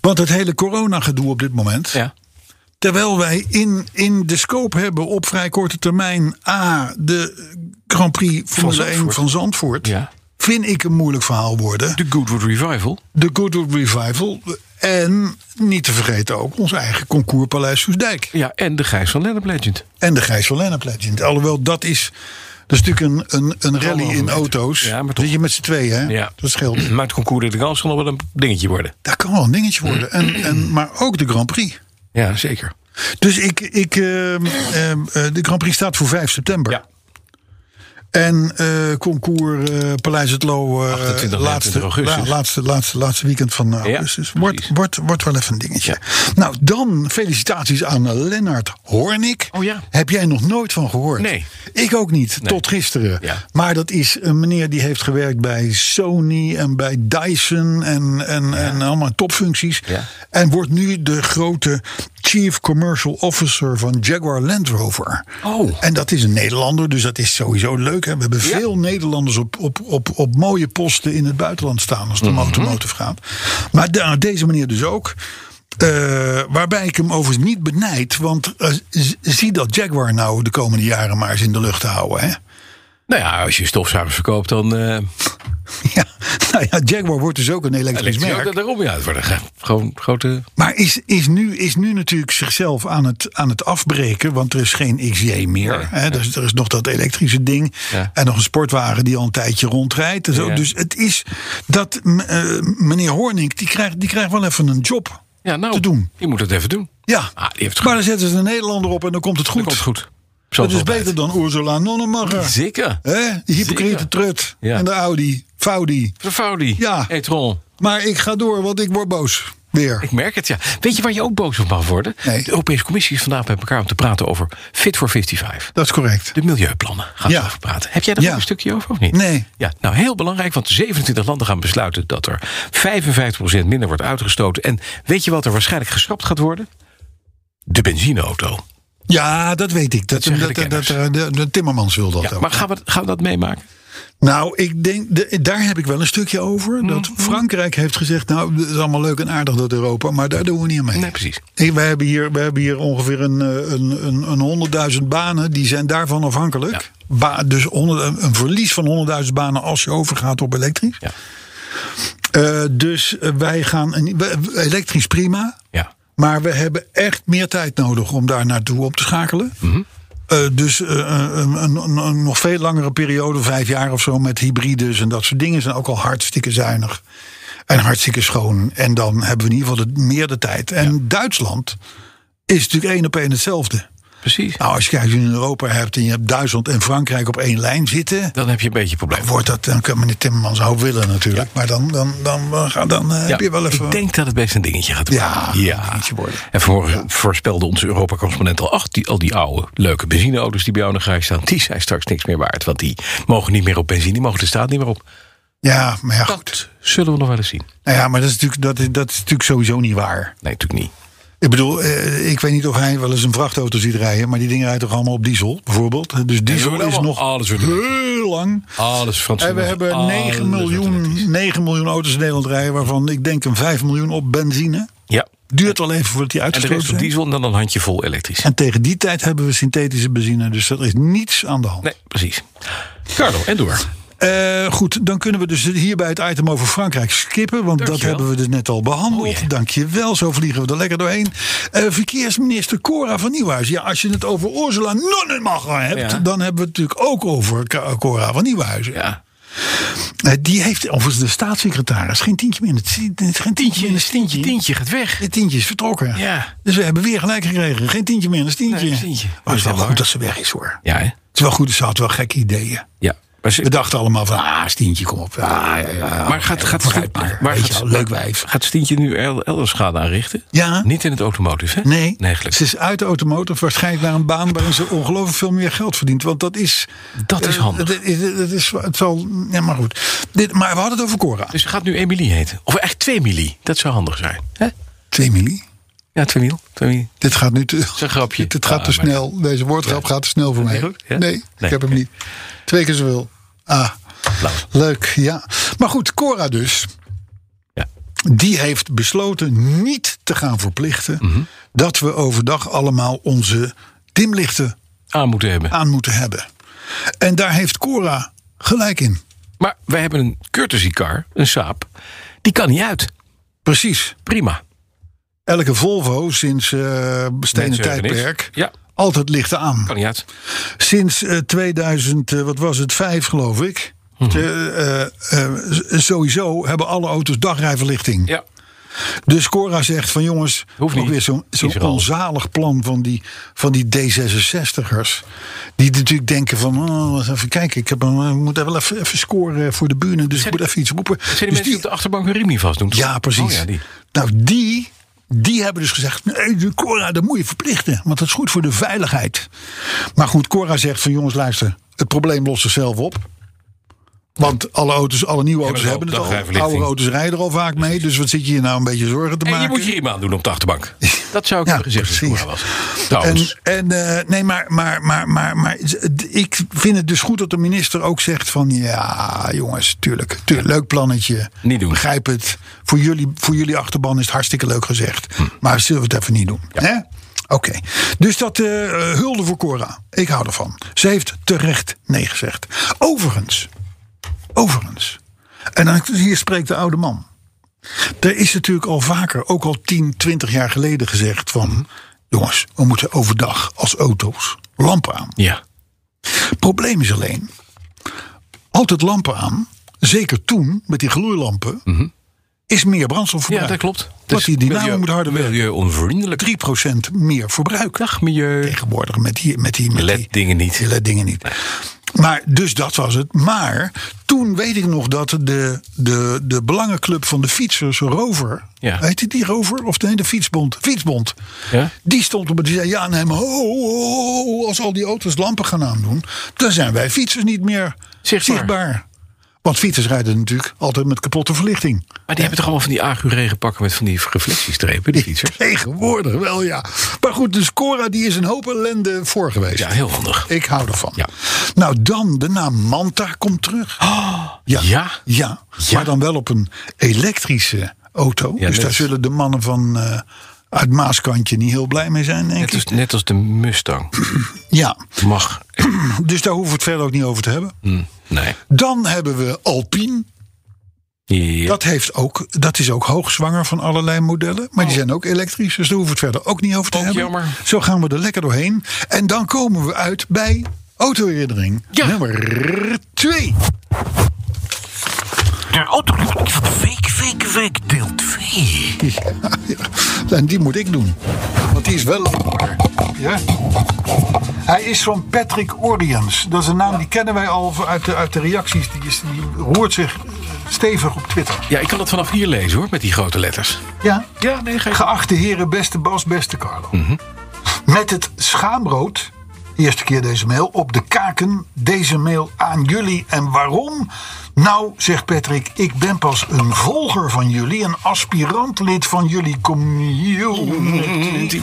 [SPEAKER 2] Want het hele corona-gedoe op dit moment.
[SPEAKER 4] Ja.
[SPEAKER 2] Terwijl wij in, in de scope hebben op vrij korte termijn. A, de Grand Prix Formule van 1
[SPEAKER 4] Zandvoort.
[SPEAKER 2] van Zandvoort.
[SPEAKER 4] Ja.
[SPEAKER 2] Vind ik een moeilijk verhaal worden.
[SPEAKER 4] De Goodwood Revival.
[SPEAKER 2] De Goodwood Revival. En niet te vergeten ook ons eigen concourspaleis Soesdijk.
[SPEAKER 4] Ja, en de Gijs van Lennep Legend.
[SPEAKER 2] En de Gijs van Lennep Legend. Alhoewel, dat is, dat is natuurlijk een, een, een rally in auto's.
[SPEAKER 4] Ja, maar toch.
[SPEAKER 2] dat je met z'n tweeën, hè?
[SPEAKER 4] Ja.
[SPEAKER 2] Dat scheelt.
[SPEAKER 4] Maar het concours de Gans kan nog wel een dingetje worden.
[SPEAKER 2] Dat kan wel een dingetje worden. En, en, maar ook de Grand Prix.
[SPEAKER 4] Ja, zeker.
[SPEAKER 2] Dus ik, ik, ehm, ehm, eh, de Grand Prix staat voor 5 september.
[SPEAKER 4] Ja.
[SPEAKER 2] En eh, concours eh, Paleis het Loo, eh,
[SPEAKER 4] 28,
[SPEAKER 2] laatste,
[SPEAKER 4] 29 augustus.
[SPEAKER 2] ja, laatste, laatste, laatste weekend van eh,
[SPEAKER 4] Ja,
[SPEAKER 2] augustus. wordt,
[SPEAKER 4] precies.
[SPEAKER 2] wordt, wordt wel even een dingetje. Nou, dan felicitaties aan eh, Lennart Hoornik.
[SPEAKER 4] Oh ja.
[SPEAKER 2] Heb jij nog nooit van gehoord?
[SPEAKER 4] Nee.
[SPEAKER 2] Ik ook niet, tot gisteren.
[SPEAKER 4] Ja.
[SPEAKER 2] Maar dat is een meneer die heeft gewerkt bij Sony en bij Dyson en, en, en allemaal topfuncties.
[SPEAKER 4] Ja.
[SPEAKER 2] En wordt nu de grote Chief Commercial Officer van Jaguar Land Rover.
[SPEAKER 4] Oh.
[SPEAKER 2] En dat is een Nederlander, dus dat is sowieso leuk. Hè? We hebben
[SPEAKER 4] Ja.
[SPEAKER 2] veel Nederlanders op, op, op, op mooie posten in het buitenland staan als het
[SPEAKER 4] Mhm.
[SPEAKER 2] om automotive gaat. Maar de- nou, deze meneer dus ook. Eh, waarbij ik hem overigens niet benijd. Want eh, z- zie dat Jaguar nou de komende jaren maar eens in de lucht te houden. Hè?
[SPEAKER 4] Nou ja, als je stofzuigers verkoopt, dan... eh
[SPEAKER 2] Ja, nou ja, Jaguar wordt dus ook een elektrisch
[SPEAKER 4] ligt
[SPEAKER 2] merk.
[SPEAKER 4] ook daarom ja, het worden ge- gewoon grote...
[SPEAKER 2] Maar is, is, nu, is nu natuurlijk zichzelf aan het, aan het afbreken. Want er is geen XJ meer.
[SPEAKER 4] Nee,
[SPEAKER 2] hè? Dus er is nog dat elektrische ding.
[SPEAKER 4] Ja.
[SPEAKER 2] En nog een sportwagen die al een tijdje rondrijdt. En zo.
[SPEAKER 4] Ja.
[SPEAKER 2] Dus het is dat m- eh, meneer Hoornink, die krijgt, die krijgt wel even een job
[SPEAKER 4] Ja, nou,
[SPEAKER 2] te doen.
[SPEAKER 4] je moet het even doen.
[SPEAKER 2] Ja,
[SPEAKER 4] Ah, die heeft het
[SPEAKER 2] maar
[SPEAKER 4] goed.
[SPEAKER 2] dan zetten ze een Nederlander op en dan komt het goed.
[SPEAKER 4] Dat komt goed.
[SPEAKER 2] Dat
[SPEAKER 4] Zoals
[SPEAKER 2] is
[SPEAKER 4] altijd.
[SPEAKER 2] beter dan Ursula Nonnemacher.
[SPEAKER 4] Zeker.
[SPEAKER 2] hè? Die hypocriete
[SPEAKER 4] Zeker.
[SPEAKER 2] trut.
[SPEAKER 4] Ja.
[SPEAKER 2] En de Audi, Faudi.
[SPEAKER 4] De Faudi.
[SPEAKER 2] Ja.
[SPEAKER 4] E-tron.
[SPEAKER 2] Maar ik ga door, want ik word boos. Weer.
[SPEAKER 4] Ik merk het, ja. Weet je waar je ook boos op mag worden?
[SPEAKER 2] Nee.
[SPEAKER 4] De Europese Commissie is vandaag met elkaar om te praten over Fit for 55.
[SPEAKER 2] Dat is correct.
[SPEAKER 4] De milieuplannen gaan
[SPEAKER 2] Ja.
[SPEAKER 4] we over praten. Heb jij daar
[SPEAKER 2] Ja.
[SPEAKER 4] ook een stukje over of niet?
[SPEAKER 2] Nee.
[SPEAKER 4] Ja, nou heel belangrijk, want 27 landen gaan besluiten dat er 55% minder wordt uitgestoten. En weet je wat er waarschijnlijk geschrapt gaat worden? De benzineauto.
[SPEAKER 2] Ja, dat weet ik. Dat, dat,
[SPEAKER 4] zeggen de
[SPEAKER 2] dat,
[SPEAKER 4] kenners.
[SPEAKER 2] dat- de, de Timmermans wil dat
[SPEAKER 4] Ja,
[SPEAKER 2] ook.
[SPEAKER 4] maar gaan we, gaan we dat meemaken?
[SPEAKER 2] Nou, ik denk, de- daar heb ik wel een stukje
[SPEAKER 4] Mhm.
[SPEAKER 2] over. Dat Frankrijk heeft gezegd, nou, het is allemaal leuk en aardig dat Europa, maar daar doen we niet aan mee.
[SPEAKER 4] Nee, precies.
[SPEAKER 2] We hebben hier, we hebben hier ongeveer een, eh, een, een, een 100.000 banen, die zijn daarvan afhankelijk. Ba- dus honderd- een- een verlies van 100.000 banen als je overgaat op elektrisch.
[SPEAKER 4] Ja.
[SPEAKER 2] Eh, dus eh, wij gaan, een- we- we- elektrisch prima,
[SPEAKER 4] Ja.
[SPEAKER 2] maar we hebben echt meer tijd nodig om daar naartoe op te schakelen.
[SPEAKER 4] Mhm.
[SPEAKER 2] Eh, dus eh, een, een, een- een nog veel langere periode, vijf jaar of zo, met hybrides en dat soort dingen zijn ook al hartstikke zuinig. En hartstikke schoon. En dan hebben we in ieder geval de, meer de tijd. En Duitsland is natuurlijk één op één hetzelfde.
[SPEAKER 4] Precies.
[SPEAKER 2] Nou, als je kijkt wat je in Europa hebt en je hebt Duitsland en Frankrijk op één lijn zitten.
[SPEAKER 4] Dan heb je een beetje een probleem.
[SPEAKER 2] Wordt dat, dan kan meneer Timmermans ook willen natuurlijk. Maar dan, dan, dan, dan, dan, eh, heb je wel even...
[SPEAKER 4] Ik denk dat het best een dingetje gaat worden.
[SPEAKER 2] Ja, een dingetje worden.
[SPEAKER 4] En vanmorgen voorspelde onze Europa-correspondent al... ach, die, al die oude leuke benzineauto's die bij jou in de garage staan... die zijn straks niks meer waard, want die mogen niet meer op benzine... die mogen de staat niet meer op.
[SPEAKER 2] Ja, maar ja, goed.
[SPEAKER 4] Dat zullen we nog wel eens zien.
[SPEAKER 2] Nou ja, maar dat is, natuurlijk, dat, is, dat is natuurlijk sowieso niet waar.
[SPEAKER 4] Nee, natuurlijk niet.
[SPEAKER 2] Ik bedoel, eh, ik weet niet of hij wel eens een vrachtauto ziet rijden, maar die dingen rijden toch allemaal op diesel, bijvoorbeeld. Dus diesel
[SPEAKER 4] worden
[SPEAKER 2] is
[SPEAKER 4] allemaal-
[SPEAKER 2] nog
[SPEAKER 4] alles wordt
[SPEAKER 2] heel lang.
[SPEAKER 4] Alles Frans.
[SPEAKER 2] En we hebben 9 miljoen, 9 miljoen auto's in Nederland rijden, waarvan ik denk een 5 miljoen op benzine.
[SPEAKER 4] Ja,
[SPEAKER 2] Duurt wel even voordat die
[SPEAKER 4] en de
[SPEAKER 2] uitgestoten
[SPEAKER 4] rest op
[SPEAKER 2] zijn.
[SPEAKER 4] diesel en dan een handjevol elektrisch.
[SPEAKER 2] En tegen die tijd hebben we synthetische benzine, dus er is niets aan de hand.
[SPEAKER 4] Nee, precies. Carlo, en door.
[SPEAKER 2] Eh, goed, dan kunnen we dus hierbij het item over Frankrijk skippen. Want dat
[SPEAKER 4] Dankjewel.
[SPEAKER 2] hebben we dus net al behandeld.
[SPEAKER 4] Oh, ja.
[SPEAKER 2] Dankjewel, zo vliegen we er lekker doorheen. Eh, verkeersminister Cora van Nieuwhuis. Ja, als je het over Ursula Nonnemacher hebt...
[SPEAKER 4] Ja.
[SPEAKER 2] dan hebben we het natuurlijk ook over Ka- Cora van Nieuwhuis.
[SPEAKER 4] Ja.
[SPEAKER 2] Eh, die heeft overigens de staatssecretaris geen tientje meer in het... Geen tientje in het
[SPEAKER 4] Tientje,
[SPEAKER 2] stientje.
[SPEAKER 4] tientje gaat weg.
[SPEAKER 2] Het tientje is vertrokken.
[SPEAKER 4] Ja.
[SPEAKER 2] Dus we hebben weer gelijk gekregen. Geen tientje meer in het stientje.
[SPEAKER 4] Nee, een tientje.
[SPEAKER 2] Maar het is wel
[SPEAKER 4] Jammer.
[SPEAKER 2] goed dat ze weg is, hoor.
[SPEAKER 4] Ja, hè?
[SPEAKER 2] Het is wel goed, ze had wel gekke ideeën.
[SPEAKER 4] Ja.
[SPEAKER 3] Maar ze-
[SPEAKER 2] We dachten allemaal van, ah, Stientje, kom op. Ja, ja, ja,
[SPEAKER 3] Maar gaat-
[SPEAKER 2] ja,
[SPEAKER 3] gaat-
[SPEAKER 2] vooruit maar.
[SPEAKER 3] maar
[SPEAKER 2] Weet
[SPEAKER 3] gaat-
[SPEAKER 2] je wel, leuk wijf.
[SPEAKER 3] Gaat Stientje nu el- elders schade aanrichten?
[SPEAKER 2] Ja.
[SPEAKER 3] Niet in het automotive, hè?
[SPEAKER 2] Nee,
[SPEAKER 3] eigenlijk.
[SPEAKER 2] ze is uit de automotive waarschijnlijk naar een baan waarin ze ongelooflijk veel meer geld verdient. Want dat is.
[SPEAKER 3] Dat is
[SPEAKER 2] eh,
[SPEAKER 3] handig.
[SPEAKER 2] Dat is, dat is, het zal, ja, maar goed. Dit, maar we hadden het over Cora.
[SPEAKER 3] Dus ze gaat nu Emilie heten. Of echt twee Emilie. Dat zou handig zijn. hè?
[SPEAKER 2] Twee milie.
[SPEAKER 3] Ja, twee Miel. Twee Miel.
[SPEAKER 2] Dit gaat nu te. Dat
[SPEAKER 3] een grapje.
[SPEAKER 2] Dit gaat
[SPEAKER 3] Ah,
[SPEAKER 2] te
[SPEAKER 3] maar-
[SPEAKER 2] snel. Deze woordgrap gaat te snel voor mij.
[SPEAKER 3] goed? Ja?
[SPEAKER 2] Nee, ik
[SPEAKER 3] Nee, Nou.
[SPEAKER 2] heb hem
[SPEAKER 3] oké.
[SPEAKER 2] niet. Twee keer zoveel. Ah, leuk, ja. Maar goed, Cora dus.
[SPEAKER 3] Ja.
[SPEAKER 2] Die heeft besloten niet te gaan verplichten
[SPEAKER 3] Mhm.
[SPEAKER 2] dat we overdag allemaal onze dimlichten
[SPEAKER 3] Aan moeten hebben.
[SPEAKER 2] aan moeten hebben. En daar heeft Cora gelijk in.
[SPEAKER 3] Maar wij hebben een courtesy car, een Saab. Die kan niet uit.
[SPEAKER 2] Precies.
[SPEAKER 3] Prima.
[SPEAKER 2] Elke Volvo sinds eh stenen
[SPEAKER 3] Mensen hebben niks.
[SPEAKER 2] tijdperk
[SPEAKER 3] Ja,
[SPEAKER 2] altijd lichten aan.
[SPEAKER 3] kan niet uit.
[SPEAKER 2] Sinds eh, 2000, eh, wat was het, vijf geloof ik.
[SPEAKER 3] Mhm.
[SPEAKER 2] Eh, eh, eh, sowieso hebben alle auto's dagrijverlichting.
[SPEAKER 3] Ja.
[SPEAKER 2] Dus Cora zegt van jongens,
[SPEAKER 3] Hoeft
[SPEAKER 2] ook
[SPEAKER 3] niet.
[SPEAKER 2] weer zo'n zo'n
[SPEAKER 3] Is er al.
[SPEAKER 2] onzalig plan van die, van die D66'ers. Die natuurlijk denken van, oh, eens even kijken, ik, heb een, ik moet wel even, even scoren voor de buren. Dus ik moet even iets roepen.
[SPEAKER 3] Zijn die
[SPEAKER 2] Dus
[SPEAKER 3] mensen die op de achterbank hun riem niet vastdoen? toch?
[SPEAKER 2] Ja, precies.
[SPEAKER 3] Oh ja, die.
[SPEAKER 2] Nou, die, die hebben dus gezegd: nee, de Cora, dat moet je verplichten. Want dat is goed voor de veiligheid. Maar goed, Cora zegt: van jongens, luister, het probleem lost zichzelf op. Want alle auto's, alle nieuwe auto's
[SPEAKER 3] wel
[SPEAKER 2] hebben het al.
[SPEAKER 3] dagrijverlichting.
[SPEAKER 2] Oude auto's rijden er al vaak mee. Dus wat zit je hier nou een beetje zorgen te
[SPEAKER 3] En je
[SPEAKER 2] maken?
[SPEAKER 3] moet je riem aandoen op de achterbank. Dat zou ik
[SPEAKER 2] Ja,
[SPEAKER 3] hebben gezegd als ik
[SPEAKER 2] precies.
[SPEAKER 3] Cora was. Trouwens.
[SPEAKER 2] En, en eh, nee, maar, maar, maar, maar, maar d- ik vind het dus goed dat de minister ook zegt van ja, jongens, tuurlijk, tuurlijk leuk plannetje.
[SPEAKER 3] Niet doen.
[SPEAKER 2] Begrijp het. Voor jullie, voor jullie achterban is het hartstikke leuk gezegd.
[SPEAKER 3] Hm.
[SPEAKER 2] Maar zullen we het even niet doen? hè? Oké. Dus dat eh, eh, hulde voor Cora. Ik hou ervan. Ze heeft terecht nee gezegd. Overigens. Overigens. En dan, hier spreekt de oude man. Er is natuurlijk al vaker, ook al 10, 20 jaar geleden gezegd
[SPEAKER 3] Hm.
[SPEAKER 2] van... jongens, we moeten overdag als auto's lampen aan.
[SPEAKER 3] ja.
[SPEAKER 2] Probleem is alleen, altijd lampen aan, zeker toen met die gloeilampen... is meer brandstofverbruik.
[SPEAKER 3] Mhm. ja, dat klopt. Dus
[SPEAKER 2] Want die dynamo moet harder werken.
[SPEAKER 3] milieuonvriendelijk.
[SPEAKER 2] 3% meer verbruik
[SPEAKER 3] Dag milieu.
[SPEAKER 2] tegenwoordig met die... Met die, met die
[SPEAKER 3] Let dingen niet.
[SPEAKER 2] die led dingen niet. Maar dus dat was het. Maar toen weet ik nog dat de, de, de belangenclub van de fietsers, Rover.
[SPEAKER 3] Ja.
[SPEAKER 2] Heet het die Rover? Of nee, de Fietsbond. Fietsbond.
[SPEAKER 3] Ja?
[SPEAKER 2] Die stond op het. Die zei: Ja, nee, maar ho, ho, ho, als al die auto's lampen gaan aandoen. dan zijn wij fietsers niet meer
[SPEAKER 3] Zichtbaar.
[SPEAKER 2] zichtbaar. Want fietsers rijden natuurlijk altijd met kapotte verlichting.
[SPEAKER 3] Maar die hebben toch allemaal van die agu pakken met van die reflectiestrepen, die fietsers?
[SPEAKER 2] Tegenwoordig wel, ja. Maar goed, dus Cora die is een hoop ellende voor geweest.
[SPEAKER 3] Ja, heel handig.
[SPEAKER 2] Ik hou ervan.
[SPEAKER 3] Ja.
[SPEAKER 2] Nou, dan de naam Manta komt terug. ja.
[SPEAKER 3] Oh. ja?
[SPEAKER 2] Ja, Maar dan wel op een elektrische auto. dus
[SPEAKER 3] net
[SPEAKER 2] daar
[SPEAKER 3] als-
[SPEAKER 2] zullen de mannen van eh, uit Maaskantje niet heel blij mee zijn, denk
[SPEAKER 3] Net
[SPEAKER 2] ik.
[SPEAKER 3] als, net als de Mustang.
[SPEAKER 2] Ja,
[SPEAKER 3] Mag.
[SPEAKER 2] dus daar hoeven we het verder ook niet over te hebben.
[SPEAKER 3] Hm, Nee.
[SPEAKER 2] Dan hebben we Alpine.
[SPEAKER 3] Ja.
[SPEAKER 2] Dat, heeft ook, dat is ook hoogzwanger van allerlei modellen. Maar die zijn ook elektrisch, dus daar hoeven we het verder ook niet over te
[SPEAKER 3] Ook
[SPEAKER 2] hebben.
[SPEAKER 3] jammer.
[SPEAKER 2] Zo gaan we er lekker doorheen. En dan komen we uit bij autoherinnering nummer 2.
[SPEAKER 5] De autoherinnering van de week, week, week, deel 2.
[SPEAKER 2] Ja, en die moet ik doen. Want die is wel langer. Ja? Hij is van Patrick Oriens. Dat is een naam die kennen wij al uit de, uit de reacties. Die, is, die roert zich eh, stevig op Twitter.
[SPEAKER 3] ja, ik kan dat vanaf hier lezen hoor, met die grote letters.
[SPEAKER 2] Ja?
[SPEAKER 3] Ja, nee, geen.
[SPEAKER 2] Geachte heren, beste Bas, beste Carlo. Met het schaamrood, eerste keer deze mail, op de kaken. Deze mail aan jullie. En waarom? Nou, zegt Patrick, ik ben pas een volger van jullie. Een aspirant lid van jullie community.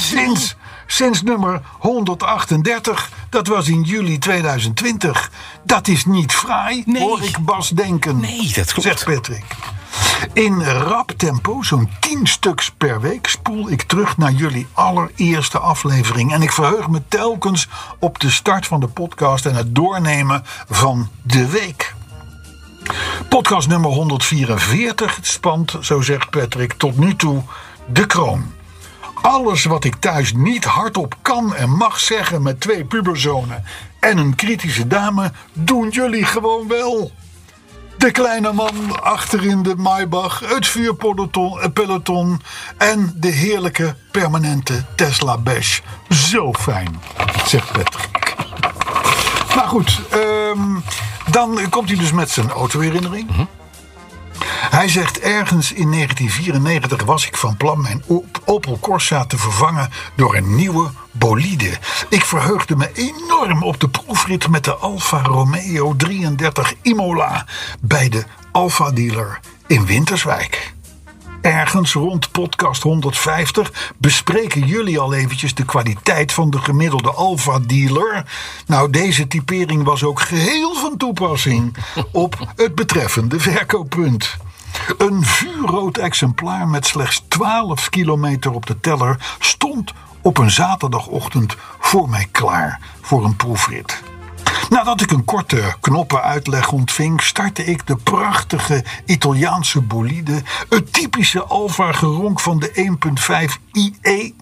[SPEAKER 2] Sinds, sinds nummer 138. Dat was in juli 2020. Dat is niet fraai, hoor ik Bas denken.
[SPEAKER 3] Nee, dat klopt.
[SPEAKER 2] Zegt Patrick. In rap tempo, zo'n 10 stuks per week, spoel ik terug naar jullie allereerste aflevering. En ik verheug me telkens op de start van de podcast en het doornemen van de week. Podcast nummer 144 spant, zo zegt Patrick, tot nu toe de kroon. Alles wat ik thuis niet hardop kan en mag zeggen met twee puberzonen en een kritische dame, doen jullie gewoon wel. De kleine man achter in de Maybach, het vuurpeloton eh, peloton en de heerlijke permanente Tesla Bash. Zo fijn, zegt Patrick. Maar goed, ehm, dan komt hij dus met zijn autoherinnering. Hij zegt ergens in 1994 was ik van plan mijn Op- Opel Corsa te vervangen door een nieuwe bolide. Ik verheugde me enorm op de proefrit met de Alfa Romeo 33 Imola bij de Alfa dealer in Winterswijk. Ergens rond podcast 150 bespreken jullie al eventjes de kwaliteit van de gemiddelde Alfa-dealer. Nou, deze typering was ook geheel van toepassing op het betreffende verkooppunt. Een vuurrood exemplaar met slechts 12 kilometer op de teller stond op een zaterdagochtend voor mij klaar voor een proefrit. Nadat ik een korte knoppenuitleg ontving, startte ik de prachtige Italiaanse bolide, het typische Alfa-geronk van de 1.5 IE.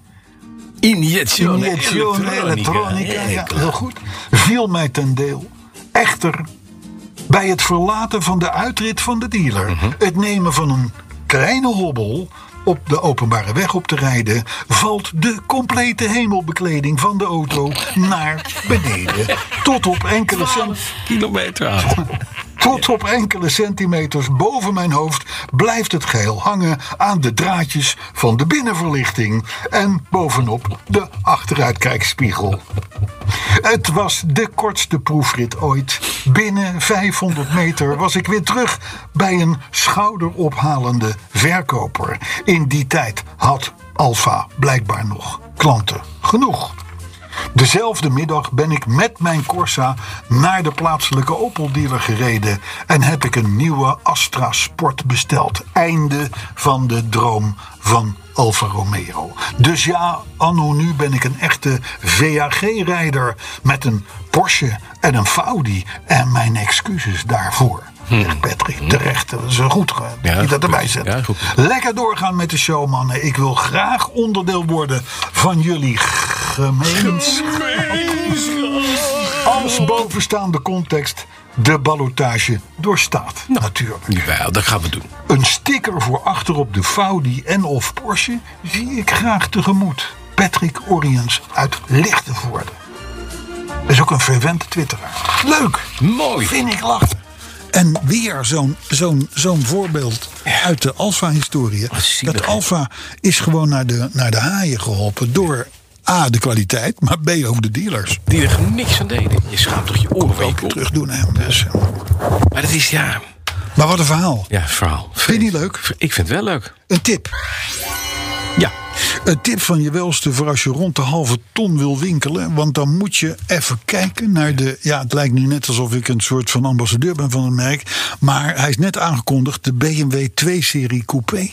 [SPEAKER 3] Injection
[SPEAKER 2] Iniezione elektronica, ja, heel goed, viel mij ten deel. Echter, bij het verlaten van de uitrit van de dealer, het nemen van een kleine hobbel op de openbare weg op te rijden, valt de complete hemelbekleding van de auto naar beneden. Tot op enkele cent.
[SPEAKER 3] Kilometer aan.
[SPEAKER 2] Tot op enkele centimeters boven mijn hoofd blijft het geheel hangen aan de draadjes van de binnenverlichting en bovenop de achteruitkijkspiegel. Het was de kortste proefrit ooit. Binnen 500 meter was ik weer terug bij een schouderophalende verkoper. In die tijd had Alfa blijkbaar nog klanten genoeg. Dezelfde middag ben ik met mijn Corsa naar de plaatselijke Opel-dealer gereden en heb ik een nieuwe Astra Sport besteld. Einde van de droom van Alfa Romeo. Dus ja, anno nu ben ik een echte VAG-rijder met een Porsche en een Faudi. En mijn excuses daarvoor. Zegt Patrick, terecht. Dat is eh, goed eh, dat
[SPEAKER 4] Hm. Ja,
[SPEAKER 2] je dat
[SPEAKER 4] goed.
[SPEAKER 2] erbij zet.
[SPEAKER 4] Ja, goed.
[SPEAKER 2] Lekker doorgaan met de show, mannen. Ik wil graag onderdeel worden van jullie gemeenschap. Als bovenstaande context de ballotage doorstaat. Natuurlijk.
[SPEAKER 4] Ja, dat gaan we doen.
[SPEAKER 2] Een sticker voor achter op de Faudi en of Porsche zie ik graag tegemoet. Patrick Oriens uit Lichtenvoorde. Dat is ook een verwend twitteraar. Leuk!
[SPEAKER 4] Mooi.
[SPEAKER 2] Vind ik lachen. En weer zo'n zo'n zo'n voorbeeld uit de Alfa-historie.
[SPEAKER 4] zielig,
[SPEAKER 2] Dat
[SPEAKER 4] hè?
[SPEAKER 2] Alfa is gewoon naar de, naar de haaien geholpen door A, de kwaliteit, maar B, ook de dealers.
[SPEAKER 4] Die er niks aan deden. Je schaamt toch je oren wel op.
[SPEAKER 2] Terug doen hem. Dus.
[SPEAKER 4] Maar dat is ja.
[SPEAKER 2] Maar wat een verhaal.
[SPEAKER 4] Ja, verhaal.
[SPEAKER 2] Vind je niet leuk?
[SPEAKER 4] Ik vind het wel leuk.
[SPEAKER 2] Een tip.
[SPEAKER 4] Ja.
[SPEAKER 2] Een tip van je welste voor als je rond de halve ton wil winkelen. Want dan moet je even kijken naar de. Ja, het lijkt nu net alsof ik een soort van ambassadeur ben van het merk. Maar hij is net aangekondigd: de BMW 2-serie Coupé.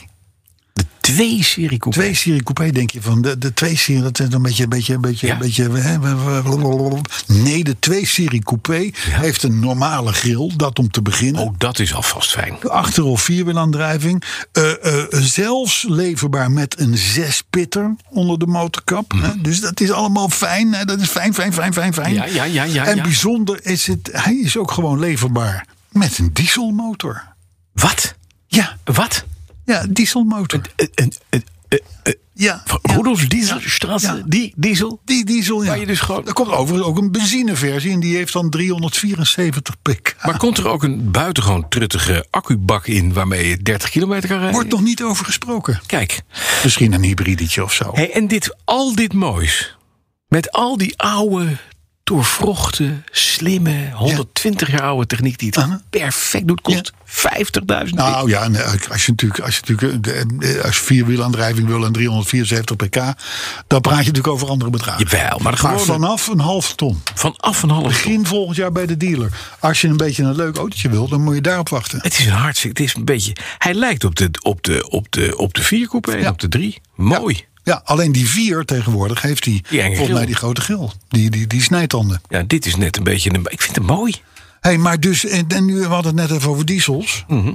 [SPEAKER 4] Twee serie coupé.
[SPEAKER 2] Twee serie coupé denk je van de, de twee serie dat is een beetje een beetje een beetje
[SPEAKER 4] Ja.
[SPEAKER 2] een beetje hè, we- we- blablabla. nee de twee serie coupé heeft een normale grill dat om te beginnen
[SPEAKER 4] Oh, dat is alvast fijn.
[SPEAKER 2] achter of vierwielaandrijving. Eh, eh, zelfs leverbaar met een zespitter onder de motorkap. Hè? Dus dat is allemaal fijn. Hè? Dat is fijn, fijn, fijn, fijn, fijn.
[SPEAKER 4] Mhm. Ja, ja, ja, ja,
[SPEAKER 2] en
[SPEAKER 4] ja.
[SPEAKER 2] bijzonder is het, hij is ook gewoon leverbaar met een dieselmotor.
[SPEAKER 4] Wat?
[SPEAKER 2] Ja,
[SPEAKER 4] Wat?
[SPEAKER 2] ja, dieselmotor.
[SPEAKER 4] Een, een,
[SPEAKER 2] Ja, ja.
[SPEAKER 4] Rudolf Dieselstraße,
[SPEAKER 2] Ja.
[SPEAKER 4] die diesel.
[SPEAKER 2] Die diesel, ja.
[SPEAKER 4] Waar je dus gewoon-
[SPEAKER 2] Er komt overigens ook een benzineversie en die heeft dan 374 pk.
[SPEAKER 4] Maar komt er ook een buitengewoon truttige accubak in waarmee je 30 kilometer kan rijden?
[SPEAKER 2] Wordt nog niet over gesproken.
[SPEAKER 4] Kijk.
[SPEAKER 2] Misschien een hybridetje of zo.
[SPEAKER 4] Hey, en dit, al dit moois. Met al die oude, doorvrochte, slimme, 120 jaar oude techniek die het
[SPEAKER 2] Aha.
[SPEAKER 4] perfect doet, kost 50.000 euro.
[SPEAKER 2] Nou ja, nee, als je natuurlijk, als je natuurlijk eh, de- eh, als je vierwielaandrijving wil en 374 pk, dan praat je natuurlijk over andere bedragen.
[SPEAKER 4] Jawel, maar
[SPEAKER 2] maar
[SPEAKER 4] gewoon
[SPEAKER 2] vanaf een half ton.
[SPEAKER 4] vanaf een half ton.
[SPEAKER 2] Begin volgend jaar bij de dealer. Als je een beetje een leuk autootje wil, dan moet je daarop wachten.
[SPEAKER 4] Het is een hartstikke, het is een beetje... Hij lijkt op de, op de, op de, op de viercoupé en
[SPEAKER 2] Ja.
[SPEAKER 4] op de drie. Mooi.
[SPEAKER 2] Ja, alleen die vier tegenwoordig heeft die,
[SPEAKER 4] Die enge
[SPEAKER 2] volgens mij
[SPEAKER 4] gril.
[SPEAKER 2] die grote gil. Die, die, die snijtanden.
[SPEAKER 4] Ja, dit is net een beetje een... Ik vind het mooi.
[SPEAKER 2] Hé, hey, maar dus, en, en nu, we hadden het net even over diesels.
[SPEAKER 4] Mhm.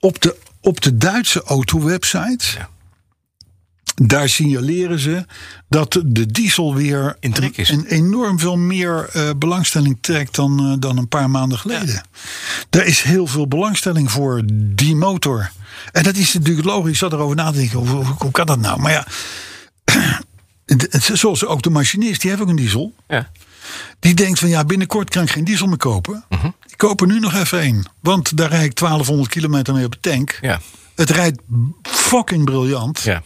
[SPEAKER 2] op, de, op de Duitse auto-website,
[SPEAKER 4] Ja.
[SPEAKER 2] daar signaleren ze dat de diesel weer
[SPEAKER 4] In trek is.
[SPEAKER 2] een- een enorm veel meer eh, belangstelling trekt dan, eh, dan een paar maanden geleden. Er is heel veel belangstelling voor die motor. En dat is natuurlijk logisch, ik zat erover na te denken, hoe, hoe, hoe kan dat nou? Maar ja, het- het- zoals ook de machinist, die heeft ook een diesel.
[SPEAKER 4] Ja.
[SPEAKER 2] Die denkt van ja, binnenkort kan ik geen diesel meer kopen.
[SPEAKER 4] Mhm.
[SPEAKER 2] Ik koop er nu nog even één. Want daar rijd ik 1200 kilometer mee op de tank.
[SPEAKER 4] Ja.
[SPEAKER 2] Het rijdt fucking briljant.
[SPEAKER 4] Ja.